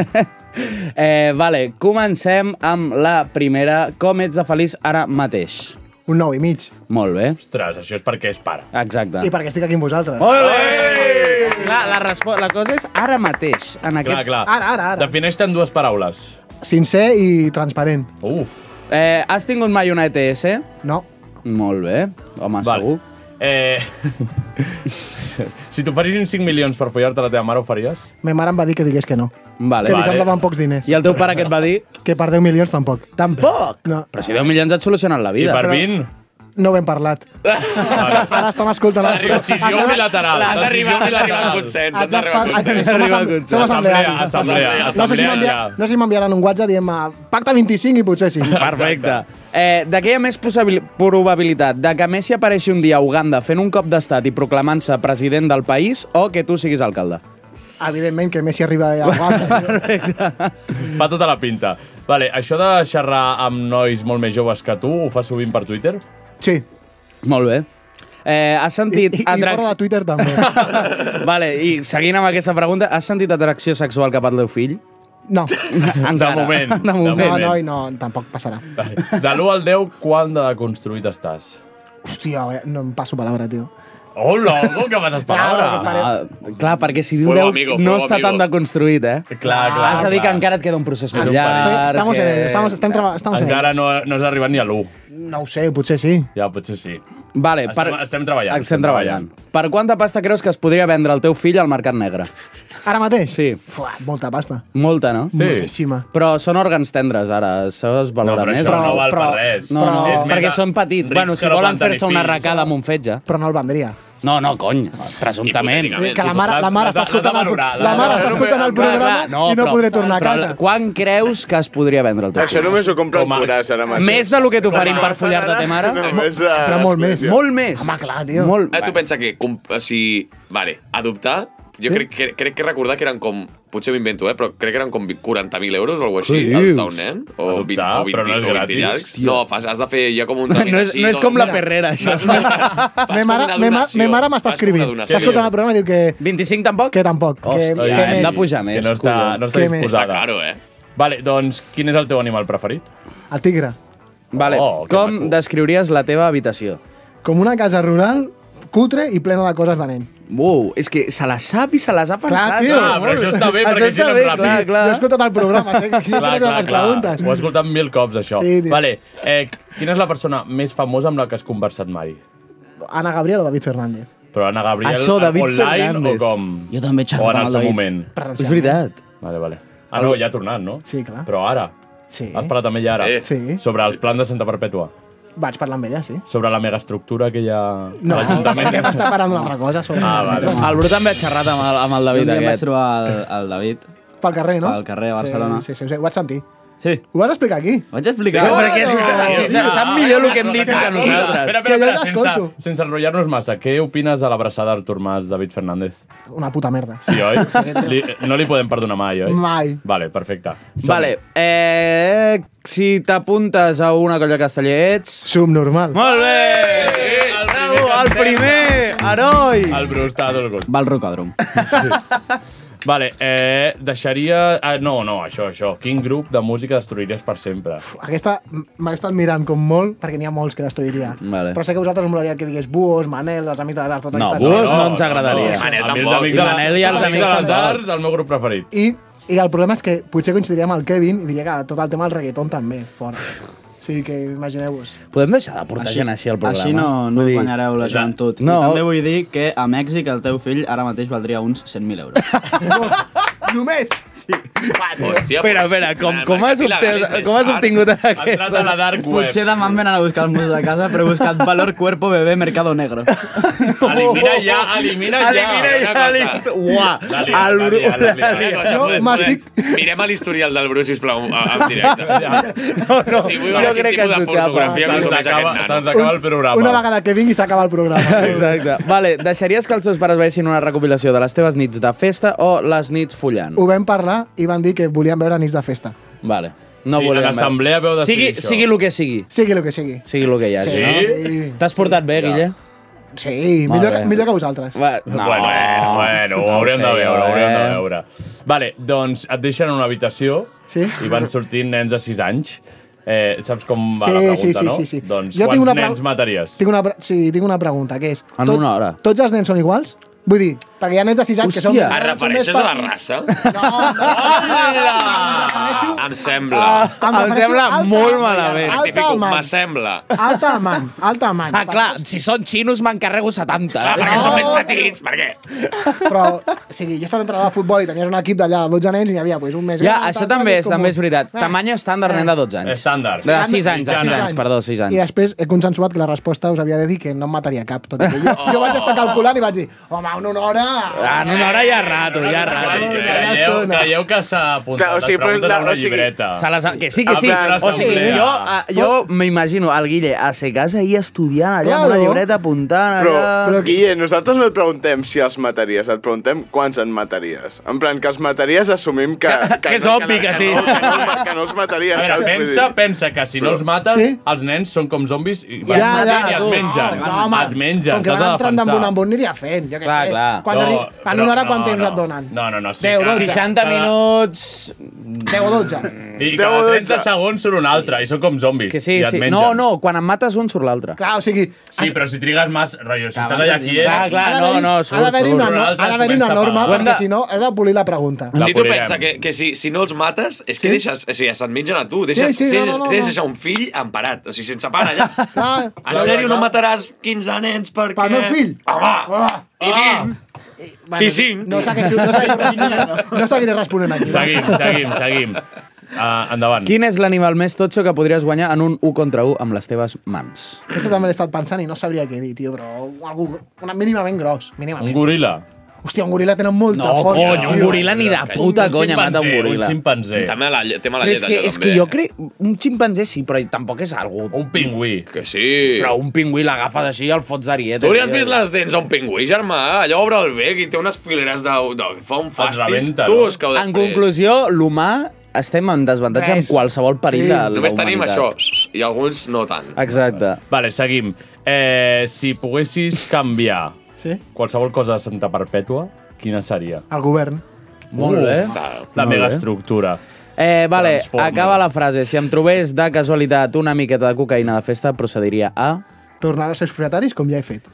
eh, vale, comencem amb la primera. Com ets de feliç ara mateix?
un 9 i mig.
Molt bé.
Ostres, això és perquè és pare.
Exacte.
I perquè estic aquí amb vosaltres.
Clar, la, respo- la cosa és ara mateix. En aquests...
Clar, clar. Defineix-te en dues paraules.
Sincer i transparent.
Uf.
Eh, has tingut mai una ETS?
No.
Molt bé. Home,
Val.
segur.
Eh... si t'oferissin 5 milions per follar-te la teva mare, ho faries?
Ma mare em va dir que digués que no.
Vale.
Que li
Vale.
semblaven pocs diners.
I el teu pare què et va dir?
Que per 10 milions tampoc.
Tampoc?
No.
Però si 10 milions et solucionen la vida.
I per Però- 20? No ho hem parlat. Ara estan escoltant...
S'ha d'arribar a decisió
Estan-
bilateral.
Has d'arribar
Decisió
has d'arribar a
bilateral.
un consens.
Has
Has d'arribar a un
d'espa-
consens.
has d'arribar a un consens.
Som assemblearis.
Assemblea, assemblea,
no, sé si
assemblea,
m'envia-
ja.
no sé si m'enviaran un WhatsApp dient pacta 25 i potser sí.
Perfecte. Eh, de què hi ha més possabil- probabilitat? De que Messi apareixi un dia a Uganda fent un cop d'estat i proclamant-se president del país o que tu siguis alcalde?
Evidentment que Messi arriba a Uganda.
Fa tota la pinta. Vale, això de xerrar amb nois molt més joves que tu, ho fas sovint per Twitter?
Sí.
Molt bé. Eh, has sentit...
I, I fora de Twitter també.
Vale, i seguint amb aquesta pregunta, has sentit atracció sexual cap al teu fill?
No.
Encara.
moment, de
De moment.
No,
moment.
no, i no, tampoc passarà.
Vale. De l'1 al 10, quan de deconstruït estàs?
Hòstia, eh, no em passo palabra, tio.
Hola, com que m'has
Claro, que faré-
Ah, clar, perquè si diu 10
Fuego amigo,
no
fuego
està
amigo.
tan deconstruït, eh?
Clar, clar,
Has de dir
clar.
que encara et queda un procés més
Estoy-
llarg. eh.
estamos en ello,
que-
estamos- estem traba- estamos en
Encara no, no has arribat ni a l'1.
No ho sé, potser sí.
Ja, potser sí.
Vale,
estem, estem treballant.
Estem treballant. Per quanta pasta creus que es podria vendre el teu fill al mercat negre?
Ara mateix?
Sí.
Fuà, molta pasta.
Molta, no?
Sí. Moltíssima.
Però són òrgans tendres, ara. Això es valora
No, però
més.
això no val per res.
No, no,
Però- És més
perquè
a-
són petits.
rics
Bueno, si
que no
volen
poden
fer-se
tenir
una
fills.
arracada amb un fetge.
Però no el vendria.
No, no, cony, presumptament.
Que la mare- la mare està escoltant el- la mare està escoltant el programa i no podré tornar a casa.
Quan creus que es podria vendre el teu
Això
fill?
només ho compra el Curàs, ara mateix.
Més del que t'oferim per follar-te a te mare?
Només eh, a...
Però molt més. Molt més.
Home, clar,
tio. Molt...
Ah, tu pensa que, com, o sigui, vale, adoptar, jo sí? crec, crec, crec que recordar que eren com, potser m'invento, eh, però crec que eren com 40.000 euros o alguna cosa així,
Què
adoptar
dius?
un nen, o,
Adoptar,
20, o 20,
però no és
o 20
gratis,
llargs.
tio.
No, fas, has de fer ja com un
No és, no és com la perrera, això.
Me mare, me ma, me mare m'està escrivint. Està escoltant el programa i diu que...
25 tampoc?
Que tampoc. que, que més.
Que no està, no està
Què més?
disposada. Està caro, eh? Vale, doncs, quin és el teu animal preferit?
El tigre.
Vale.
Oh, que
Com descriuries la teva habitació?
Com una casa rural, cutre i plena de coses de nen.
Uau, és que se les sap i se les ha pensat.
tio.
eh?
Ah, però això està bé,
Això
perquè així
està
anem
bé,
ràpid.
clar, clar.
Jo he escoltat el programa, sé que
Clar,
sempre
clar,
les
clar.
preguntes.
Ho he escoltat mil cops, això.
Sí, tio.
vale, eh, quina és la persona més famosa amb la que has conversat mai?
Ana Gabriel o David Fernández.
Però Anna Gabriel eh,
Això, David
online
Fernández.
o com?
Jo també he xerrat
O en
amb
el
el
seu
David.
moment.
És veritat.
Vale, vale. Ah, no, ja ha tornat, no?
Sí, clar.
Però ara.
Sí.
Has parlat també ja ara.
Eh. Sí.
Sobre els plans de Santa Perpètua.
Vaig parlar amb ella, sí.
Sobre la megaestructura que hi ha
No,
a l'Ajuntament.
perquè m'està parlant d'una altra cosa. Sobre
Ah, vale.
El Bru també ha xerrat amb el, amb
Jo
el
un
David
dia em vaig
aquest.
trobar el, el David.
Pel carrer, no?
Pel carrer, a Barcelona.
Sí, sí, sí, ho sé, ho vaig sentir.
Sí.
Ho vas explicar aquí.
Vaig explicar.
Sí, perquè
Bueno!
és-
és- és- sap millor el que hem dit que nosaltres.
Espera,
Que jo
espera, espera,
l'escolto.
sense, sense enrotllar-nos massa, què opines de l'abraçada d'Artur Mas, David Fernández?
Una puta merda.
Sí, oi? Li, no li podem perdonar mai, oi?
Mai.
Vale, perfecte.
Vale, eh, si t'apuntes a una colla casteller ets...
Subnormal.
Molt bé!
El
bravo, el primer, heroi!
El Bru està dolgut.
Va al rocòdrom.
Vale, eh, deixaria... Ah, no, no, això, això. Quin grup de música destruiries per sempre?
Aquesta m- me l'he estat mirant com molt, perquè n'hi ha molts que destruiria.
Vale.
Però sé que a vosaltres us molaria que digués Buos, Manel, els Amics de les Arts, totes aquestes
Buos
coses.
no ens agradaria. Manel
A mi els
tampoc.
amics
I
de la-
Manel i els amics
de les
tampoc.
arts, el meu grup preferit.
I, I el problema és que potser coincidiria amb el Kevin i diria que tot el tema del reggaeton també, fort. O sigui que imagineu-vos.
Podem deixar de portar gent així al programa?
Així no, no
Vull
Vull
dir-
guanyareu la joventut.
No.
No. I també vull dir que a Mèxic el teu fill ara mateix valdria uns 100.000 euros.
Només!
Sí.
Hòstia,
Espera, espera, com, com, has, obté, com has obtingut aquesta?
Potser demà em venen a buscar els meus de casa, però he buscat Valor Cuerpo Bebé Mercado Negro.
Elimina ja, elimina ja.
Elimina ja,
Una cosa.
Àlex. Uah,
La lia,
el
la
Bru-
lia, la lia.
la lia.
Una cosa,
Jo
podem-
m'estic-
podem- Mirem a l'historial del Bru, sisplau, en directe.
No, no,
Si vull veure
jo
quin
crec que
tipus de
ens ho xapa.
pornografia consumeix aquest nano.
Se'ns acaba el programa.
Una vegada que vingui s'acaba el programa.
Exacte. Vale, deixaries que els teus pares veiessin una recopilació de les teves nits de festa o les nits follant?
Ho vam parlar i van dir que volien veure nits de festa.
Uh. Vale. No
Sí,
volem...
a l'assemblea veu decidir
sigui,
això.
Sigui el que sigui.
Sigui el que sigui.
Sigui el que hi hagi,
Sí?
no? T'has portat bé, Guille?
Sí,
Molt
millor
bé.
que, millor que vosaltres.
Va,
No. Bueno, bueno, ho
No ho
haurem
sé,
de veure, ho haurem de
eh?
veure. Vale, doncs et deixen en una habitació
sí?
i van sortint nens de 6 anys Eh, saps com va
Sí,
la pregunta,
sí, sí,
no?
sí, sí.
Doncs
Jo tinc
quants
una pregu-
nens mataries?
Tinc una, pre- sí, tinc una pregunta, que és...
En una hora.
Tots els nens són iguals? Vull dir, perquè hi ha nens de 6 anys que són...
Et
són més
refereixes a la
petits.
raça?
No,
Em sembla.
Ah, em refereixo alta- alta
Rectifico,
man.
M'assembla.
Alta man, alta man.
Ah, clar, si són xinos m'encarrego eh? 70.
Clar,
Ah,
perquè són més petits, per què?
Però, o sigui, jo estava entrenant a futbol i tenies un equip d'allà de 12 nens i n'hi havia pues, un més
Ja,
gran.
això també és,
com
també
un-
és veritat. Tamany estàndard, nen de 12 anys.
Estàndard.
De 6 anys, de 6 anys, perdó, 6
I
anys.
després he consensuat que la resposta us havia de dir que no em mataria cap. Tot i que jo,
Oh.
jo vaig estar calculant i vaig dir, home, en una hora...
Ah, en una hora ja rato, ja rato.
Creieu, creieu que s'ha apuntat
Clar, o
o
sigui,
sigui,
però
les preguntes
la-
a una
o sigui,
llibreta.
Se les, ha- que sí, que sí. O sigui, jo, a- jo m'imagino el Guille a ser casa i estudiant allà amb una
Claro.
llibreta apuntant
Però,
allà...
però Guille, nosaltres no et preguntem si els mataries, et preguntem quants en mataries. En plan, que els mataries assumim que... Que,
que és obvi que sí.
No, que, no, que no els
A
mataries,
veure,
saps? Vull
pensa,
dir-
pensa que si no els mates, sí? els nens són com zombis i,
Ja,
ja, ja,
ja,
i et
tu.
mengen.
No, home,
et mengen,
Com que
t'has
van
de
entrant
defensar.
d'embun en bun aniria fent, jo què sé. Quan
No,
arribi- en
però
una hora quant
no,
temps
no.
et donen?
No, no, no. Sí,
10,
cada-
12.
60
cada-
minuts...
10 o 12.
I cada 30 segons surt un altre i són com zombis.
Que sí,
i et
sí.
mengen.
No, no, quan em mates un surt l'altre.
Clar, o sigui...
Sí, però si trigues més, rotllo, si
Clar,
estàs allà aquí... eh?
Ah, clar, clar, no, no,
ha d'haver-hi una, no,
L'altre
ha d'haver una
comença a
norma,
pagar.
perquè si no, has de polir la pregunta.
si tu pensa que, que si, si no els mates, és que sí? deixes, o sigui, se't mengen a tu, deixes,
Sí, sí, no, no, no, no.
deixes a un fill emparat, o sigui, sense pare allà.
Ah,
En sèrio, no mataràs 15 nens perquè...
Pel meu fill?
Home!
Ah.
I 20!
Bueno,
I 5!
No segueixo, no segueixo, no seguiré responent aquí. eh?
Seguim, seguim, seguim. Uh, endavant.
Quin és l'animal més totxo que podries guanyar en un 1 contra 1 amb les teves mans?
Aquesta també l'he estat pensant i no sabria què dir, tio, però algú, una, mínimament gros,
Un
mínimament.
goril·la.
Hòstia, un goril·la tenen molta
No,
força.
cony, un
Doncs tio.
goril·la ni de puta,
Un
conya, mata un
ximpanzé,
goril·la.
un
ximpanzé.
Tema de la, lle- tema de la
Però és
llet,
que,
allò,
és
també.
que jo crec... Un ximpanzé sí, però tampoc és algú...
Un pingüí.
Que sí.
Però un pingüí l'agafes així i el fots eh, d'arieta.
Tu li has vist les dents a un pingüí, germà? Allò obre el bec i té unes fileres de... de fa un fàstic. tu es cau
En
després.
conclusió, l'humà estem en desavantatge en
Res.
qualsevol perill de la
Només
humanitat.
tenim això, i alguns no tant.
Exacte.
Vale, seguim. Eh, si poguessis canviar
Sí?
qualsevol cosa de Santa Perpètua, quina seria?
El govern.
Molt bé.
La
Molt bé.
megaestructura.
Uh. Eh, vale,
Transforma.
acaba la frase. Si em trobés de casualitat una miqueta de cocaïna de festa, procediria a...
Tornar als seus propietaris, com ja he fet.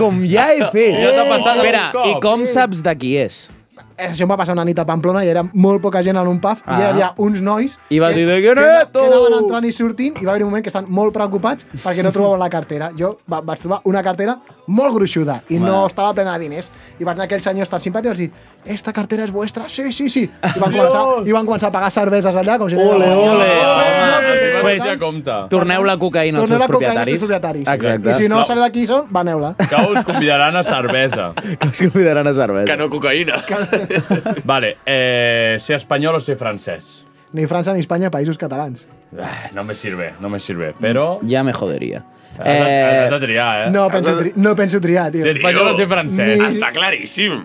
com ja he fet!
Ja t'ha passat algun
Espera,
cop.
i com saps de qui és?
Eh, Això em va passar una nit a Pamplona i era molt poca gent en un pub
Ah.
i hi havia uns nois
I va dir, "De
que,
què
que,
neto?"
que anaven entrant i sortint i va haver un moment que estan molt preocupats perquè no trobaven la cartera. Jo va, vaig trobar una cartera molt gruixuda i no
Bueno.
estava plena de diners. I vaig anar a aquells senyors tan simpàtics i vaig dir «Esta cartera és vuestra? Sí, sí, sí!» I van començar, i van començar a pagar cerveses allà com si no
Ole,
era guanyat.
ole!
Home,
Pues,
doncs,
Ah.
torneu la cocaïna als
Torneu
seus
la cocaïna als
propietaris.
seus propietaris.
Exacte.
I si no sabeu de qui són, veneu-la.
Que us convidaran a cervesa.
Que us convidaran a cervesa.
Que no cocaïna.
Vale, eh, ser espanyol o ser francès?
Ni França ni Espanya, països catalans.
Ah, No me sirve, no me sirve, però...
Ja me joderia.
Has, de, has de triar, eh?
No penso, tri no penso triar, tio.
Ser espanyol o ser francès?
Ni-
Està claríssim.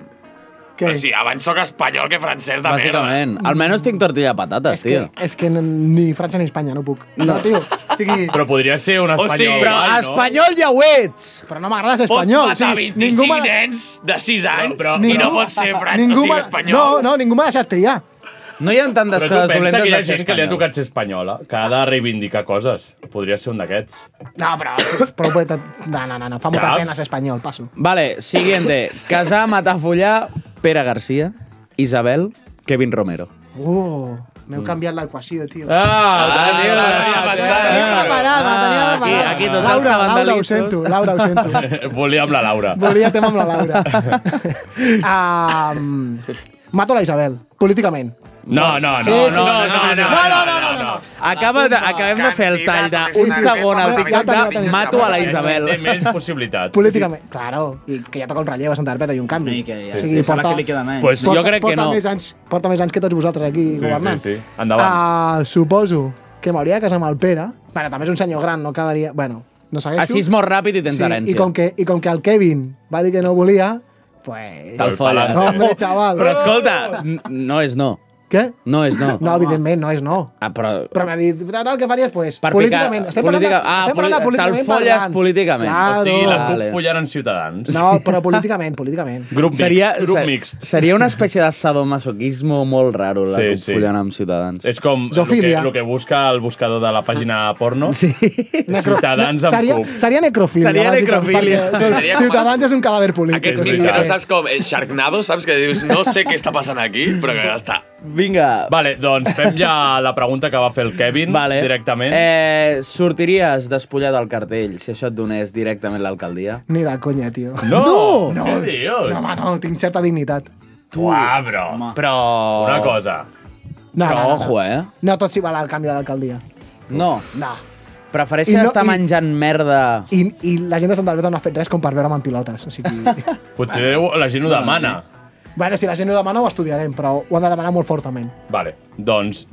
Què?
O sigui, abans sóc espanyol que francès de merda.
Bàsicament. Almenys tinc tortilla de patates,
És que,
tio.
és que ni França ni Espanya no puc. No, no tio. Sigui,
Però podria ser un espanyol.
però
guai, no?
espanyol ja ho ets!
Però no m'agrada ser espanyol.
Pots matar
o sigui,
25
ningú m'ha-
nens de 6 anys però, i
ningú-
no pots ser fran...
ningú
o sigui,
m'ha-
espanyol.
No, no, ningú m'ha deixat triar.
No hi ha tantes
Però tu
coses
pensa
dolentes
que hi ha
de ser
gent que li ha
espanyol.
tocat ser espanyola, que ha de reivindicar coses. Podria ser un d'aquests.
No, però... però puede tant- no, no, no, no, fa molta
Saps?
pena ser espanyol, passo.
Vale, siguiente. Casar, matar, follar, Pere Garcia, Isabel, Kevin Romero.
Uh, m'heu
Mm.
canviat l'equació, tio.
Ah, tenia Ah,
l'havia pensat.
Tenia preparada, tenia
Ah, aquí-
preparada.
aquí tots els
Laura, Laura, ho
cabandalistes.
sento, Laura, ho sento.
Volia amb la Laura.
Volia tema amb la Laura. um, mato la Isabel, políticament.
No, no, no,
Sí,
no,
sí,
no,
sí, sí,
no, no,
sí.
no, no, no, no, no.
Acaba de, acabem de fer el tall d'un
Sí, sí.
segon al
Ja
TikTok
tenia,
de
tenia.
mato a la Isabel.
Té més possibilitats.
Políticament, claro. I que ja toca un relleu a Santa Perpètua i un canvi.
ja, sí, serà que li queden anys. Pues jo crec que
porta
no.
Més anys, porta més anys que tots vosaltres aquí
Sí,
governant.
sí, sí. Endavant.
Uh, suposo que m'hauria de casar amb el Pere. Bueno, també és un senyor gran, no quedaria... Bueno, no segueixo.
Així és molt ràpid i tens herència.
I com, que, I com que el Kevin va dir que no volia, pues...
Te'l folles.
No, hombre, chaval.
Però escolta, n- no és no.
Què?
No és no.
No, evidentment, no és no.
Ah, però...
Però m'ha dit, tal, què faries? Pues,
Per
políticament.
picar-
Estem parlant,
política-
de,
ah,
estem parlant de
poli-
políticament.
te'l folles
parlant.
políticament.
Claro.
O sigui, la
Vale.
CUP follaran Ciutadans.
No, però políticament, políticament.
Grup mixt, grup
ser-
mixt.
Seria una espècie de sadomasoquismo molt raro, la
Sí,
sí,
sí.
sí. follant amb Ciutadans.
És com el que,
Zoofilia.
lo que busca el buscador de la pàgina porno.
Sí.
Ciutadans amb
seria,
CUP.
seria necrofília.
Seria
bàsicament,
necrofília.
perquè
Sí, seria com-
Ciutadans és un cadàver polític.
Aquests
o
mics
sigui
que no
que-
saps com... eh, Sharknado, saps? Que dius, no sé què està passant aquí, però que ja està.
Vinga.
Vale, doncs fem ja la pregunta que va fer el Kevin vale. directament.
Eh, sortiries despullat del cartell si això et donés directament l'alcaldia?
Ni de conya, tio.
No!
no,
Què
dius?
No, home, no, tinc certa dignitat.
Uah, bro.
Però...
Una cosa.
No,
però
no, no, no.
ojo, eh?
No, tot s'hi val al canvi de l'alcaldia.
No.
No.
Prefereixes
I no-
estar
i-
menjant merda...
I, I la gent de Santa Alberta no ha fet res com per veure'm en pilotes. O sigui,
Potser la gent ho demana.
bueno, si la gent ho demana ho estudiarem, però ho han de demanar molt fortament.
Vale, doncs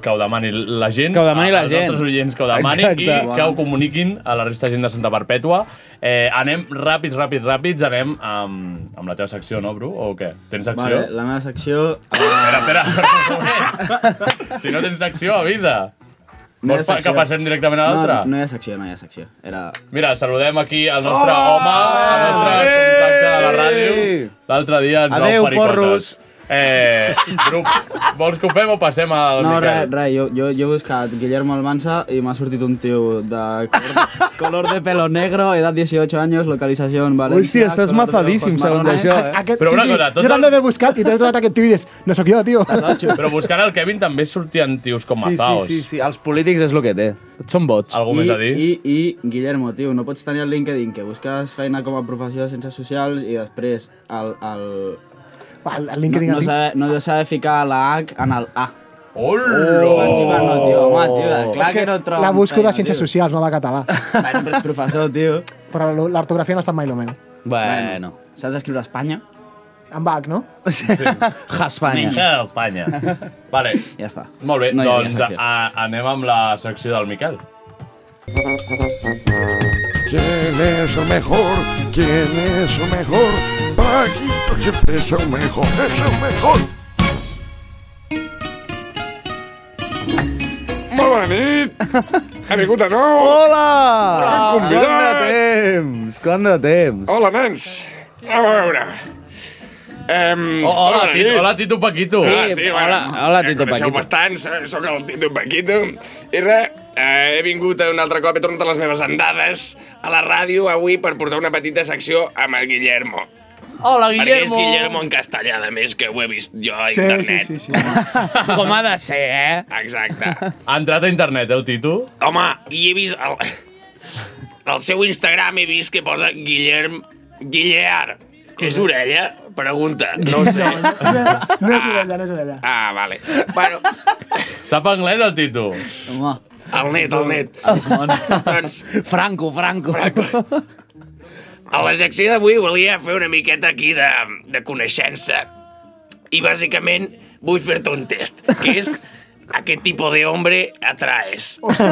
que ho demani la gent.
Que ho demani la
als
gent.
nostres oients que ho demanin
Exacte.
i que ho comuniquin a la resta de gent de Santa Perpètua. Eh, anem ràpids, ràpids, ràpids. Anem amb, amb la teva secció, no, Bru? O què? Tens secció?
Vale, la meva secció...
Espera, espera. si no tens secció, avisa.
No hi ha
Vols pa-
secció.
que passem directament a l'altra?
No, no hi ha secció, no hi ha secció. Era...
Mira, saludem aquí el nostre home, el nostre contacte de la ràdio. L'altre dia ens
Adeu,
va oferir
porros.
coses. Eh, Bru, vols que ho fem o passem al
No,
Miquel?
res, res, jo, jo, jo he buscat Guillermo Almansa i m'ha sortit un tio de color, color de pelo negro, edad 18 años, localización Valencia...
Hòstia, estàs
color de
mazadíssim,
ojos
segons
marrones.
això, eh? Però una cosa, tot Jo també m'he buscat i t'he trobat aquest tio i dius, no sóc jo, tio.
Però buscant el Kevin també sortien tios com
Sí, sí,
Mazaos.
sí,
sí, els polítics és el que té. Són bots.
Algú
I,
més a dir?
i, I, Guillermo, tio, no pots tenir el LinkedIn que busques feina com a professió de ciències socials i després el... el...
El, el LinkedIn,
no,
el
no, sabe, no se sabe ficar la H en el A.
Hola!
No, tio, home,
Oh.
tio, clar
És
que,
que
no trobo
la busco de
feina,
ciències
tio.
socials, no de català.
Bueno, però ets professor, tio.
Però lo- l'ortografia no ha estat mai el meu.
Bueno.
Saps escriure a Espanya?
En Bach, no?
Espanya.
Miquel, Espanya. Vale.
Ja està.
Molt bé,
No hi havia
doncs
secció.
a, anem amb la secció del Miquel.
¿Quién es el mejor? ¿Quién es el mejor? Paquito siempre es el mejor, es el mejor. Bona nit! He vingut de nou!
Oh.
Que
Hola!
m'han
Quant de
convidat!
temps! Quant de temps!
Hola, nens! A veure... Um,
Oh, hola, Tito, hola, Tito Paquito.
Ah, Sí,
Sí,
sí,
hola,
bueno,
hola,
ja
Tito
coneixeu
Paquito.
bastants, eh, sóc el Tito Paquito. I res, eh, he vingut un altre cop, he tornat a les meves andades a la ràdio avui per portar una petita secció amb el Guillermo.
Hola,
Perquè és Guillermo en castellà, a més, que ho he vist jo a internet.
sí, sí, sí. Com ha de ser, eh?
Exacte.
Ha entrat a internet, el Tito?
Home, i he vist... El, al seu Instagram he vist que posa Guillerm... Guillear. És orella? Pregunta. No ho sé.
No és orella, no és orella.
Ah, vale. Bueno,
Sap anglès, el Tito?
Home.
El net, el net. doncs...
Franco, Franco.
Franco. A la secció d'avui volia fer una miqueta aquí de, de coneixença. I bàsicament vull fer-te un test, que és a què tipus de hombre atraes. És,
El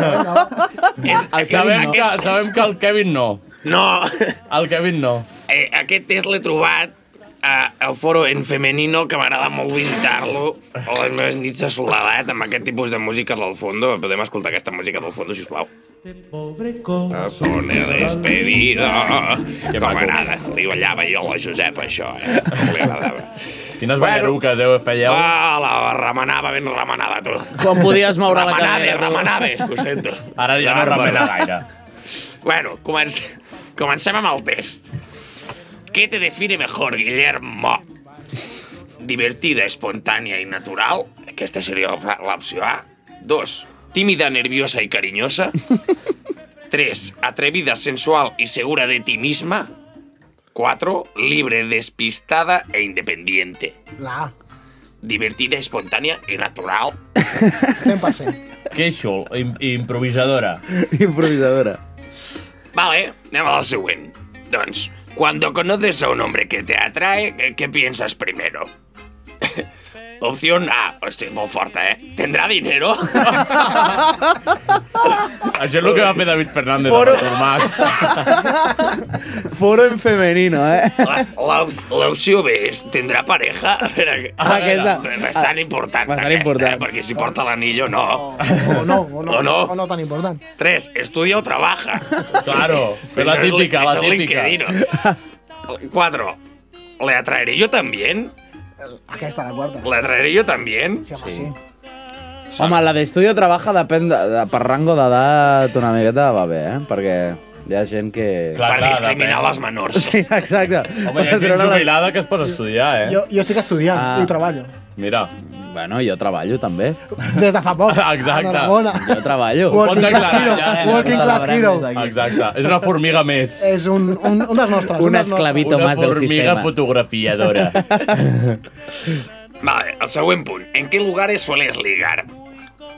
sabem,
aquest-
que, sabem que el Kevin no.
No.
El Kevin no.
Eh, aquest test l'he trobat a, al foro en femenino, que m'agrada molt visitar-lo, a les meves nits de soledat, amb aquest tipus de música del fondo. Podem escoltar aquesta música del fondo, sisplau. Una despedida. Que m'agrada. Li ballava jo a la Josepa, això, eh? Com li agradava.
Quines ballaruques, eh, fèieu?
Ah, la remenava ben remenada, tu.
Quan podies moure la
Remenade,
cadera, tu.
Remenade, ho sento.
Ara ja no
Bàrbaro.
remena gaire.
Bueno, comenc... comencem amb el test. ¿Qué te define mejor, Guillermo? Divertida, espontània i natural. Aquesta seria la- l'opció A. Dos, tímida, nerviosa i cariñosa. Tres, atrevida, sensual y segura de ti misma. Cuatro, libre, despistada e independiente.
La A.
Divertida, espontània i natural.
100%.
Què xul, im improvisadora.
Improvisadora.
Vale, anem a la següent. Doncs, cuando conoces a un hombre que te atrae, ¿qué- ¿qué piensas primero? Opción A. Hòstia, és molt forta, eh? Tendrà dinero?
Això és el que va fer David Fernández
Foro-
a Artur Mas.
Foro en femenino, eh?
La- l'op- L'opció B és tindrà pareja? A veure,
Aquesta-
bastant important,
bastant
aquesta,
important.
Eh? perquè si porta l'anillo no.
O no, o no,
O no.
o no tan important.
3. Estudia o trabaja.
Claro,
Això
fer la
és li-
típica, la
això és
típica.
LinkedIn. 4. ¿Le atraeré yo también?
Aquesta, la quarta.
¿Le atraeré yo también? Sí,
sí.
Home, la d'estudio trabaja depèn de, de, per rango d'edat una miqueta va bé, eh? Perquè hi ha gent que...
Per discriminar les menors.
Sí, exacte.
Home, hi ha gent jubilada que es pot estudiar, eh?
Jo, jo estic estudiant
Ah.
i treballo.
Mira.
Bueno, jo treballo també.
Des de fa poc.
Exacte.
Enhorabona.
Jo treballo.
Working class hero, working class hero.
Exacte, és una formiga més.
És un, un, un dels nostres. un
Una
dels nostres.
esclavito más del sistema. Una formiga fotografiadora.
Vale, el següent punt. ¿En qué lugares sueles ligar?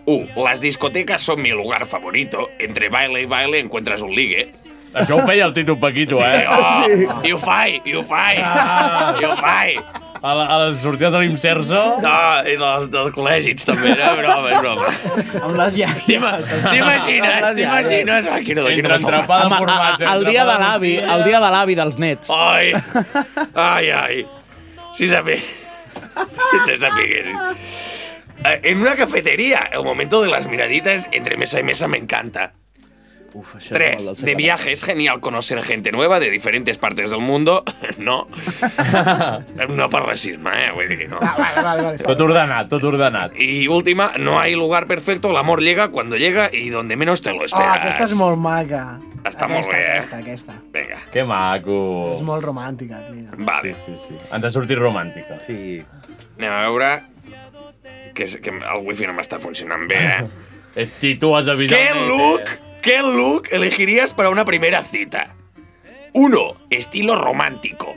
1. Las discotecas son mi lugar favorito. Entre baile y baile encuentras un ligue.
Això ho feia el Tito Paquito, eh?
Oh, I ho fai, i ho fai, i ho fai.
A, la, a les sortides de l'Imserso?
No, i dels, dels col·legis també, no? És broma, és broma.
Amb les iaies.
T'imagines, t'imagines? Ah, quina de quina
Home, a- a- el dia de l'avi, el dia de l'avi dels nets.
Oh,
Ai, ai, ai. Si sabés. Si te sapiguessis. Eh, En una cafetería, el momento de las miraditas entre mesa y mesa me encanta.
això és molt
3.
dolça
De
català.
viaje es genial conocer gente nueva de diferentes partes del mundo. No. No per racisme, eh? Vull dir, no.
Ah, Vale, vale, vale.
Tot ordenat, tot ordenat.
Y última, no hay lugar perfecto, el amor llega cuando llega y donde menos te lo
Ah,
esperas.
aquesta és molt maca.
Està
aquesta,
molt bé, eh?
Aquesta, aquesta.
Vinga.
Que maco.
És molt romàntica, tio.
Vale.
Sí, sí, sí. Ens ha sortit doncs. romàntica.
Sí.
Anem a veure... Que, és- que el wifi no m'està funcionant bé, eh?
Si tu has avisat...
¿Qué
eh?
look, qué look elegirías para una primera cita? 1. Estilo romántico.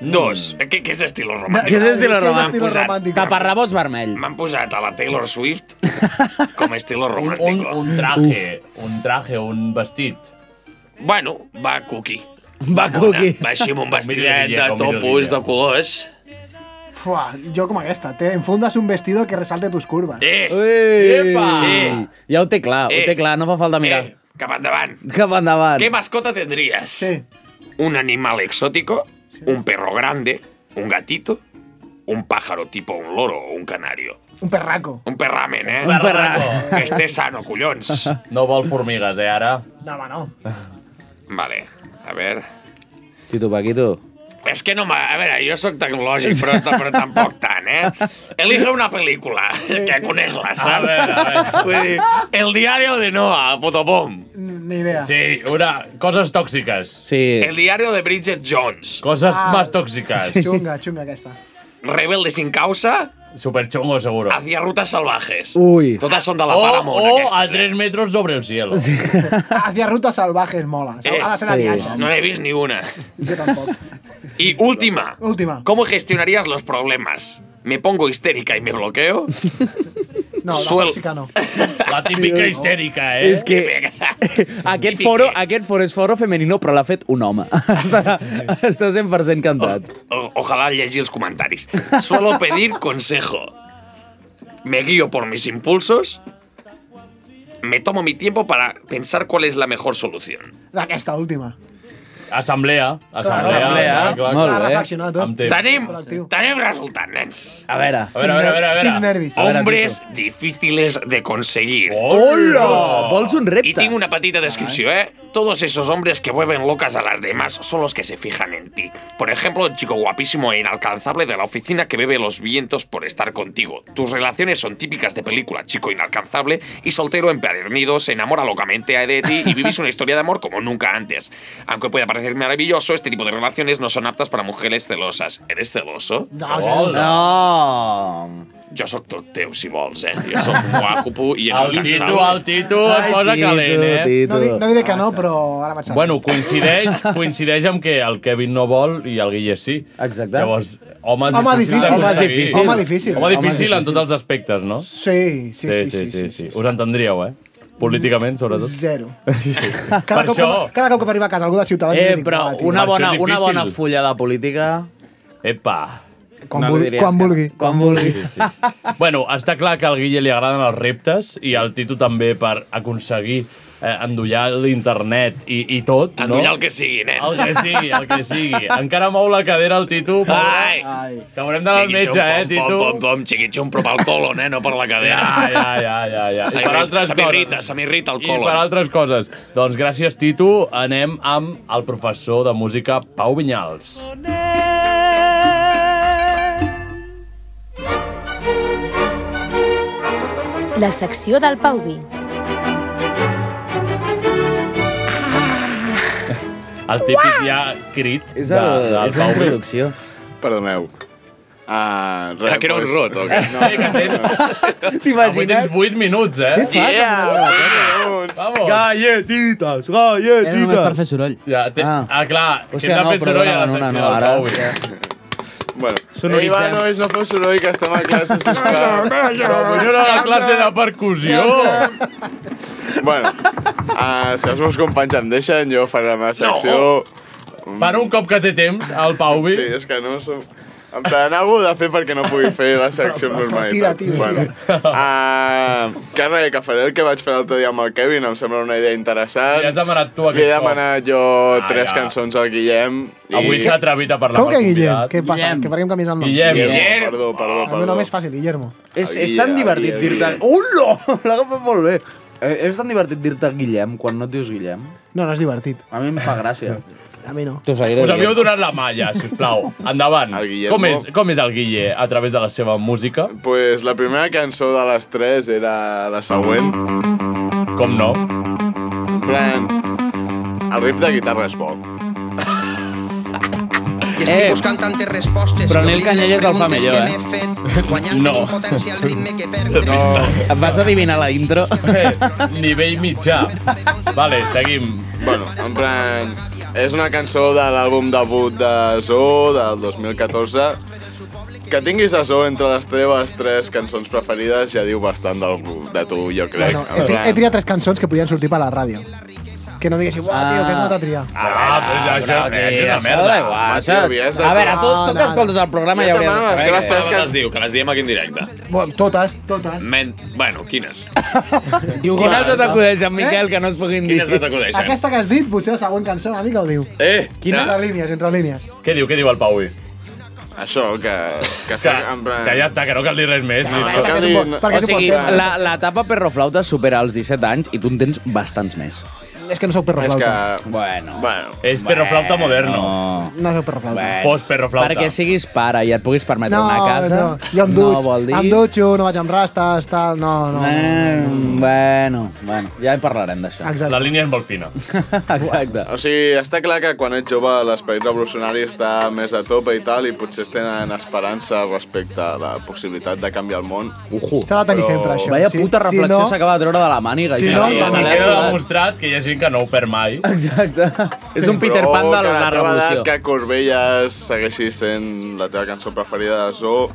2. ¿Qué, ¿Qué es estilo romántico?
Què és estilo
M'han
romàntic?
posat-
Taparrabos vermell.
M'han posat a la Taylor Swift com estilo romàntico.
Un, un traje, un traje, un vestit.
Bueno, va cookie.
Va cookie.
Va així amb un
Com
vestidet
Mireia,
de
com
topos,
Mireia.
de colors.
Fua, jo com aquesta. Te enfundes un vestido que resalte tus curvas.
Eh!
Ui!
Epa! Eh!
Ja ho té clar, ho té clar, no fa falta mirar.
Eh.
Cap endavant.
Cap endavant.
¿Qué mascota tendrías? ¿Un animal exótico? ¿Un perro grande? ¿Un gatito? ¿Un pájaro tipo un loro o un canario?
Un perraco.
Un perramen, eh?
Un perraco.
Que esté sano, collons.
No vol formigues, eh, ara?
No, home, no.
Vale, a ver...
Tito Paquito.
És que no m'a- A veure, jo sóc tecnològic, però, però tampoc tant, eh? Elige una pel·lícula, que coneix-la, saps?
A veure, a veure.
Vull dir, El diario de Noah, potopom.
Ni idea.
Sí, una... Coses tòxiques.
Sí.
El diario de Bridget Jones.
Coses
Ah.
más tòxiques.
Xunga, xunga aquesta.
Rebelde sin causa.
Superchungo, seguro.
Hacia rutas salvajes.
Ui.
Totes són de la
o,
Paramount,
o
aquesta.
Oh, a 3 metres sobre el cielo. Sí.
Hacia rutas salvajes mola.
Eh,
Ha de ser de viatges.
No he vist ni una.
Jo tampoc.
Y última.
Última.
¿Cómo gestionarías los problemas? ¿Me pongo histérica y me bloqueo?
No, la
Suel-
tòxica no.
La típica histèrica, eh?
És que aquest foro, aquest foro és foro femenino, però l'ha fet un home. Està, està 100% cantat.
O- ojalá llegir els comentaris. Suelo pedir consejo. Me guío por mis impulsos. Me tomo mi tiempo para pensar cuál es la mejor solución.
Aquesta última.
Assemblea. Assemblea.
Assemblea.
clar, clar,
Molt
clar.
bé.
Reflexionar tot.
Eh? Amb temps.
Tenim, tenim resultat, nens.
A veure.
A veure, a veure, a veure. A veure.
Quins nervis.
Hombres difíciles de conseguir.
Hola! Vols un
Y
repte?
tengo una patita de descripción, ¿eh? Todos esos hombres que vuelven locas a las demás son los que se fijan en ti. Por ejemplo, el chico guapísimo e inalcanzable de la oficina que bebe los vientos por estar contigo. Tus relaciones son típicas de película, chico inalcanzable y soltero empadernido, se enamora locamente de ti y vivís una historia de amor como nunca antes. Aunque pueda parecer maravilloso, este tipo de relaciones no son aptas para mujeres celosas. ¿Eres celoso?
No,
Hola.
No.
Yo soy tot teu, si vols, eh? Jo soc guapo i
El Tito,
inalcanzable.
el Tito et posa calent, eh?
No, di no diré que no, però ara vaig
Bueno, coincideix, coincideix amb que el Kevin no vol i el Guille sí.
Exacte.
Llavors, home, és
Home
difícil
difícil,
d'aconseguir.
home difícil.
Home difícil.
Home
Home
difícil en
difícil.
tots els aspectes, no?
Sí, sí, sí. sí, sí, sí,
Us entendríeu, eh? Políticament, sobretot.
Zero. Cada
Per
cop,
això-
que, cada cop que m'arriba a casa algú de Ciutadans...
Eh,
jo dic,
però
"Va, tio".
una
Això és
bona, una
difícil.
bona fulla de política
Epa!
Quan No li vulgui- diries quan que no. vulgui.
Quan vulgui.
bueno, està clar que al Guille li agraden els reptes i al Tito també per aconseguir eh, endollar l'internet i, i tot.
Endollar
no?
Em el que sigui, nen.
El que sigui, el que sigui. Encara mou la cadera el Tito. pobre.
Ai!
Que haurem d'anar al metge, eh, Tito?
Pom, pom, pom, xiquitxum, però pel colon, eh, no per la cadera.
Ja, ja, ja, ja, ja. I
Ai,
per altres
se m'irrita, se m'irrita el eh?
I
colon.
per altres coses. Doncs gràcies, Tito. Anem amb el professor de música Pau Vinyals.
La secció del Pau Vi.
El típic ja crit
És
de,
el-
del
és la
Pau Vinyals.
Producció.
Perdoneu. Uh,
Era que era un rot, o què? Sí, que Avui
T'imagines? Ah,
tens 8 minuts, eh?
Què fas amb Yeah. les
Vamos.
Galletitas,
Era només per fer
soroll.
Ja, té... Ah, ah clar,
Hòstia,
si hem de
no,
fer soroll a la
perdona,
secció
no,
del
ara.
Pau Vinyals.
Bueno,
Sonoritzem.
Ei, va, nois, no feu soroll, que estem a classe. sisplau.
Però jo era la classe de percussió.
bueno, uh, si els meus companys em deixen, jo faré la meva secció... No.
Per un cop que té temps, el Pauvi.
Sí, és que no som... Em prendran algú de fer perquè no pugui fer la secció amb normalitat.
tira, tira.
Bueno, uh, que res, que faré el que vaig fer l'altre dia amb el Kevin, em sembla una idea interessant.
Li has demanat tu
Li he
aquest cop.
demanat jo
Ah,
tres
ja.
cançons al Guillem.
Avui s'ha atrevit a parlar
Com
amb
que
el
Guillem?
convidat.
Què passa?
Guillem.
Que farem canvis el nom.
Guillem. Guillem.
Perdó, perdó,
El meu
perdó.
nom és fàcil, Guillermo.
És, és tan divertit dir-te... Hola! L'ha agafat molt bé. Eh, És tan divertit dir-te Guillem quan no et dius Guillem.
No, no és divertit.
A mi em fa gràcia.
A mi no.
Us
Us havíeu donat la malla, sisplau. Endavant.
Guillermo.
Com és, com és el Guille a través de la seva música?
Pues la primera cançó de les tres era la següent.
Com no?
En plan, el riff de guitarra és bo.
I
Eh,
estic buscant tantes respostes.
però
que
Nel
oblidin les
Canyelles el fa
preguntes
millor,
que
eh?
m'he fet, Guanyant
No.
no. impotència al ritme que perdré.
Em vas adivinar la intro?
Eh, Nivell mitjà. Vale, seguim.
Bueno, en plan, és una cançó de l'àlbum debut de Zoo del 2014. Que tinguis a Zoo entre les teves tres cançons preferides ja diu bastant del, de tu, jo crec.
Bueno, he,
en
tri he
plan,
triat tres cançons que podien sortir per la ràdio. Que no diguessin, uah, tio, que has anat a triar.
Ah, però això,
però
això
aquí,
és una
això
merda.
da igual,
Home,
això-
tio, havies de-
A veure, tu, tu que escoltes el programa ja hauries de saber.
Que les
que-
tres que es diu, que les diem aquí en directe.
Bueno, totes, totes.
Men... Bueno, quines? Quina
Diu, quina
altra
altra
t'acudeix,
t'acudeix,
en
en
Miquel,
Miquel, que no es puguin dir?
Quines se t'acudeixen?
Aquesta que has dit, potser la següent cançó, una mica ho diu.
Eh,
Entre línies, entre línies.
Què diu, què diu el Pauvi?
Això, que, que està... en plan...
Que ja està, que no cal dir res més.
No,
eh.
sisplau.
perquè és un bo- perquè
O
és un
sigui,
bon tema.
la, la tapa perroflauta supera els 17 anys i tu en tens bastants més.
És que no sóc perro
És
flauta.
que- Bueno.
bueno.
És perroflauta moderno.
No sóc perro flauta.
Postperroflauta.
Perquè siguis pare i et puguis permetre
No,
una casa,
no, jo em dutxo,
no vol dir...
em dutxo, no vaig amb rastes, tal, no, no. no.
Eh, bueno, bueno, ja en parlarem d'això.
Exacte.
La línia és molt fina.
Exacte.
O sigui, està clar que quan ets jove l'esperit revolucionari està més a tope i tal, i potser es tenen esperança respecte a la possibilitat de canviar el món.
Ujo.
S'ha de tenir sempre, això.
Vaya
Si-
puta
si
reflexió
no-
s'acaba de treure de la màniga.
Sí,
això.
no, sí, sí, Ah, queda demostrat que hi ha gent que no ho perd mai.
Exacte. És un Peter
Però
Pan de
que teva
la revolució.
edat, Que Corbelles segueixi sent la teva cançó preferida de Zoo.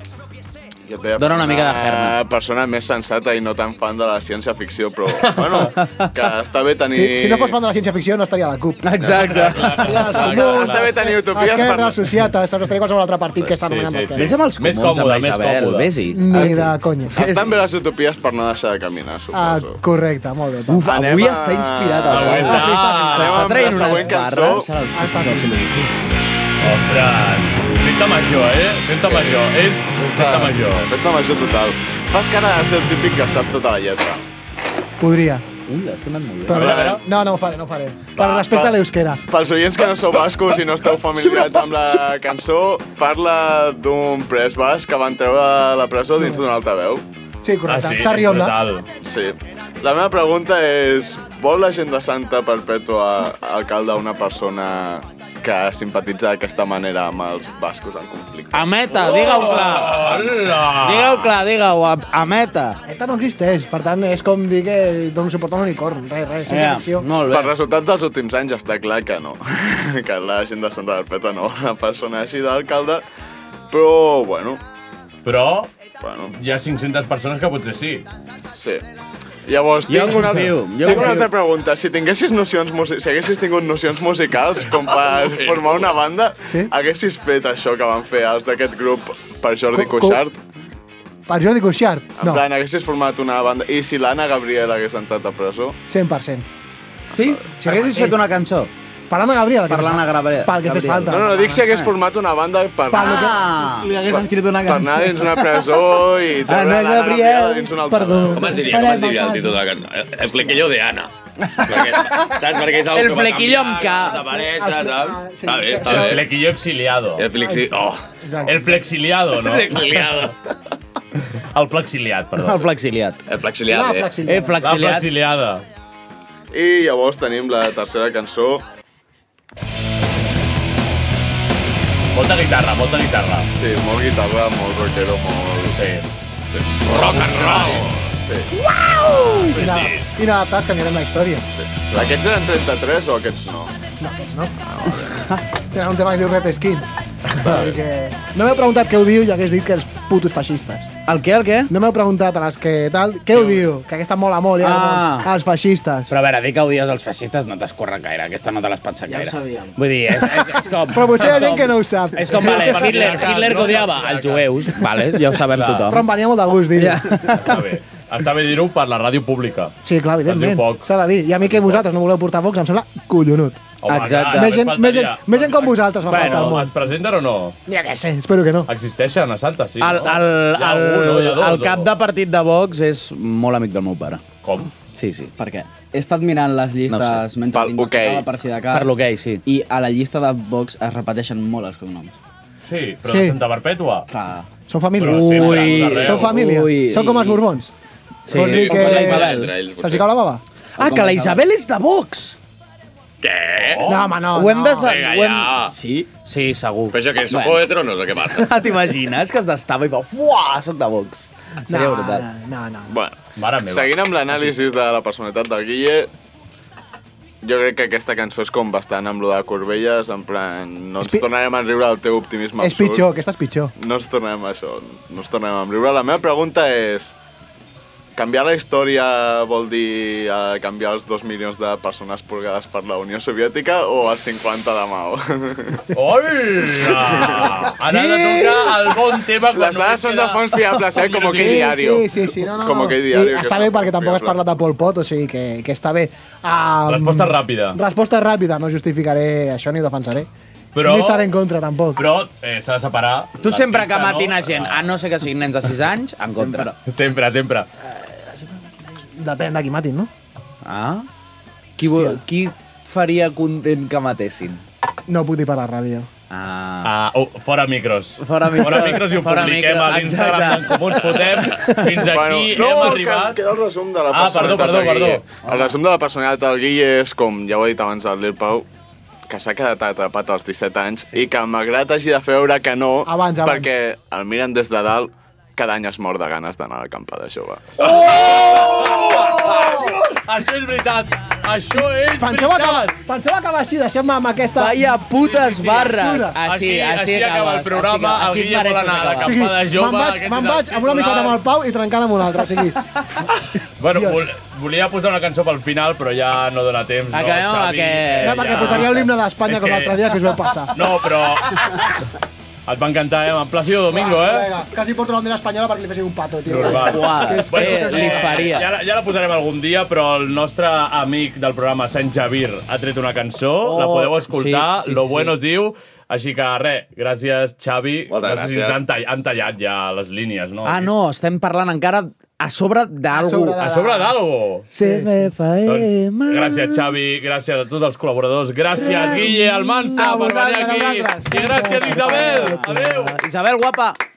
Jo et deia,
Dóna una mica de gerna.
persona més sensata i no tan fan de la ciència-ficció, però, bueno, que està bé tenir...
Si, si no fos fan de la ciència-ficció, no estaria a la CUP.
Exacte.
Està- està bé tenir utopies
Esquerra,
per-
per... Societa, saps? Estaria qualsevol altre partit que s'ha anomenat Esquerra.
Vés amb els
Més
comuns, amb
còmode,
la
més
Isabel,
còmode.
Vés-hi. Ah,
Ni de conya.
Estan bé les utopies per no deixar de caminar, suposo.
Ah, correcte, molt bé. Uf,
avui Anem a- està inspirat, el Avui Pau. està- anem amb la següent cançó.
Està
Ostres, festa major, eh? Festa major, és festa major.
Festa major total. Fas cara de ser el típic que sap tota la lletra.
Podria.
Ui, ha sonat molt bé.
Però, no, no ho faré, no ho faré. Per respecte a l'euskera.
Pels oients que no sou bascos i no esteu familiaritzats amb la cançó, parla d'un pres basc que van treure de la presó dins d'un altaveu.
Sí, correcte. Ah, sí, Sarrionda. brutal.
Sí. La meva pregunta és, vol la gent de Santa perpètua alcalde una persona que simpatitza d'aquesta manera amb els bascos en conflicte?
Ameta, digue-ho clar. Digue-ho clar, digue-ho. a- Ameta.
Eta no existeix, per tant, és com dir que dono suport a un unicorn. Res, res, sense ficció.
molt
bé. Per resultats dels últims anys està clar que no. que la gent de Santa Perpètua no vol una persona així d'alcalde, però, bueno...
Però
Bueno,
hi ha 500 persones que potser sí.
sí. Llavors,
Jo
tinc una,
confio, jo
tinc una
confio.
altra pregunta. Si tinguessis nocions, musi- si haguessis tingut nocions musicals com per formar una banda, sí? haguessis fet això que van fer els d'aquest grup per Jordi
Co- co-
Cuixart?
Per Jordi Cuixart?
En
No,
plan, haguessis format una banda... I si l'Anna Gabriel hagués entrat a presó?
100%.
Sí?
Si haguessis fet
una cançó.
Per l'Anna Gabriel.
Per l'Anna Gabriel.
Pel que fes falta.
No, no, dic si hagués format una banda per...
Ah,
Pel que-
Li hagués
escrit una
Per anar dins una presó i treure
Anna
l'Anna Gabriel,
Gabriel,
dins una altra.
perdó.
Com es diria, com es diria el títol de la cançó? El, el flequillo de Anna. Perquè, saps? Perquè és algo
El
que va
flequillo
canviant,
amb cap.
Desapareix, saps? Està bé, està
El
bé.
flequillo exiliado.
El flexi... Oh.
El flexiliado, no?
El exiliado.
El flexiliat, perdó.
El flexiliat.
El flexiliat.
La flexiliada.
Eh, flexiliat.
La flexiliada.
I llavors tenim la tercera cançó.
Molta guitarra, molta guitarra.
Sí, molt guitarra, molt rockero, molt... Sí. sí.
Rock and roll.
Sí.
Uau! Quina,
Eh,
quina adaptats canviarem la història.
Però Aquests eren 33 o aquests no?
No, doncs no. Serà un tema que es diu Red Skin. Vull dir Que... No m'heu preguntat què ho diu i hagués dit que els putos feixistes.
El què, el què?
No m'heu preguntat a les que tal, què ho diu? Que aquesta mola molt, ja,
Ah.
ah. els feixistes.
Però a veure, dir que odies els feixistes no t'escorre gaire, aquesta no te l'has pensat gaire. Ja ho sabíem. Vull dir, és, és, és com...
Però potser hi ha
és
gent
com-
que no ho sap.
És com, vale, Hitler, Hitler que odiava els jueus, vale, ja ho sabem
Però
tothom.
em venia molt de gust dir-ho.
Està bé. Està bé dir-ho per la ràdio pública.
Sí, clar,
Es diu
evidentment.
poc.
S'ha de dir. I a mi que vosaltres no voleu portar Vox, em sembla collonut.
Home, Exacte. clar,
Més gent,
Oh només
més gent,
faltaria.
més gent com vosaltres fa falta al
Bueno, es
món.
presenten o no?
Ja que sé, espero que no.
Existeixen a Santa, sí.
El,
no?
el,
Hi ha un, no?
el,
Hi ha dos,
el
o?
cap de partit de Vox és molt amic del meu pare.
Com?
Sí, sí.
Per què? He estat mirant les llistes
No
no
ho sé.
sé. mentre
Pel
investigava
hoquei.
per si de cas.
Per l'hoquei, sí.
I a la llista de Vox es repeteixen molt els cognoms.
Sí, però
Sí.
de Santa Perpètua.
Clar.
Són família.
Però sempre, Ui. a tot arreu.
Són família.
Ui.
Són com els borbons.
Sí.
Vols dir
Com
que...
la Isabel.
Se'ls hi cau la baba?
Ah, que la Isabel és de Vox!
Què?
No, home, no,
Ho hem
no.
de... sa-
Vinga,
ho hem...
ja.
Sí? Sí, segur.
Però això que és Juego de Tronos, o què passa?
T'imagines que es destava i va... Fuà, soc de Vox. Seria
No,
brutal.
Ah, No, no.
Bueno,
Mare
meva.
seguint amb l'anàlisi de la personalitat del Guille, jo crec que aquesta cançó és com bastant amb lo de Corbelles, en plan, no ens tornarem a riure del teu optimisme
És
absurd.
pitjor, aquesta és pitjor.
No ens tornarem a això, no ens tornarem a riure. La meva pregunta és, canviar la història vol dir eh, canviar els dos milions de persones purgades per la Unió Soviètica o els 50 de Mao?
Hola! Ara ha de tocar el bon tema quan
Les dades són de fons fiables, eh? Com aquell
Sí,
diario.
Sí, sí, sí, no, no.
Com
no.
aquell diario.
I
que
està
és
bé
una
perquè tampoc has
fiable.
parlat de Pol Pot, o sigui que, que està bé. Um,
Resposta ràpida.
Resposta ràpida, no justificaré això ni ho defensaré.
Però-
No hi estaré en contra, tampoc.
Però eh, s'ha de separar...
Tu sempre que
l'artista,
matina gent, a no ser que siguin nens de 6 anys, en contra.
no? Sempre, sempre.
Depèn de qui matin, no?
Ah? Qui, vo- qui faria content que matessin?
No puc dir per la ràdio.
Ah. ah oh, fora micros.
Fora micros,
Fora micros i ho
fora
publiquem
micros,
a l'Instagram
exacte.
d'en Comú. Ens fotem fins aquí.
Bueno,
hem
no,
arribat...
Que, queda el resum de la
Ah, perdó,
personalitat
perdó,
del
perdó.
Guille. El resum de la personalitat del Guille és, com ja ho ha dit abans el Lil Pau, que s'ha quedat atrapat als 17 anys sí. i que malgrat hagi de fer veure que no,
Abans, abans.
perquè el miren des de dalt, cada any es mor de ganes d'anar a la campada jove.
Això és veritat. Això és
Penseu acabar, penseu acabar així, deixem-me amb aquesta...
Vaya putes barres.
basura.
Així, així,
així acaba el programa, el Guille vol anar a la
O sigui,
campada jove,
me'n vaig,
aquest és el
me'n vaig amb una amistat
titular.
amb el Pau i trencant amb un altre. O sigui,
Bueno, vol, volia posar una cançó pel final, però ja no dóna temps.
Ah,
Acabem
no,
amb
Xavi, Eh,
aquest. No, perquè
ja.
posaria l'himne d'Espanya
És
com l'altre dia que us vau passar.
No, però... Et va encantar, eh? Amb Plácido Domingo, eh?
Vinga, Quasi porto la bandera espanyola perquè li fessin un pato, tio.
Normal. eh,
És que-
Ja, la- ja la posarem algun dia, però el nostre amic del programa, Sant Javier, ha tret una cançó,
Oh,
la podeu escoltar,
sí, sí,
Lo
sí,
Bueno
sí.
es diu... Així que, res, gràcies, Xavi.
Moltes
no sé si
gràcies.
ens han, tall han tallat ja les línies, no?
Ah, no, estem parlant encara a sobre d'algú.
A sobre d'algo.
CFM.
Gràcies, Xavi, gràcies a tots els col·laboradors, gràcies,
Gràcies.
Guille Almansa,
A
per venir
vosaltres, a
aquí,
vosaltres.
i gràcies, Isabel. Adéu.
Isabel, guapa.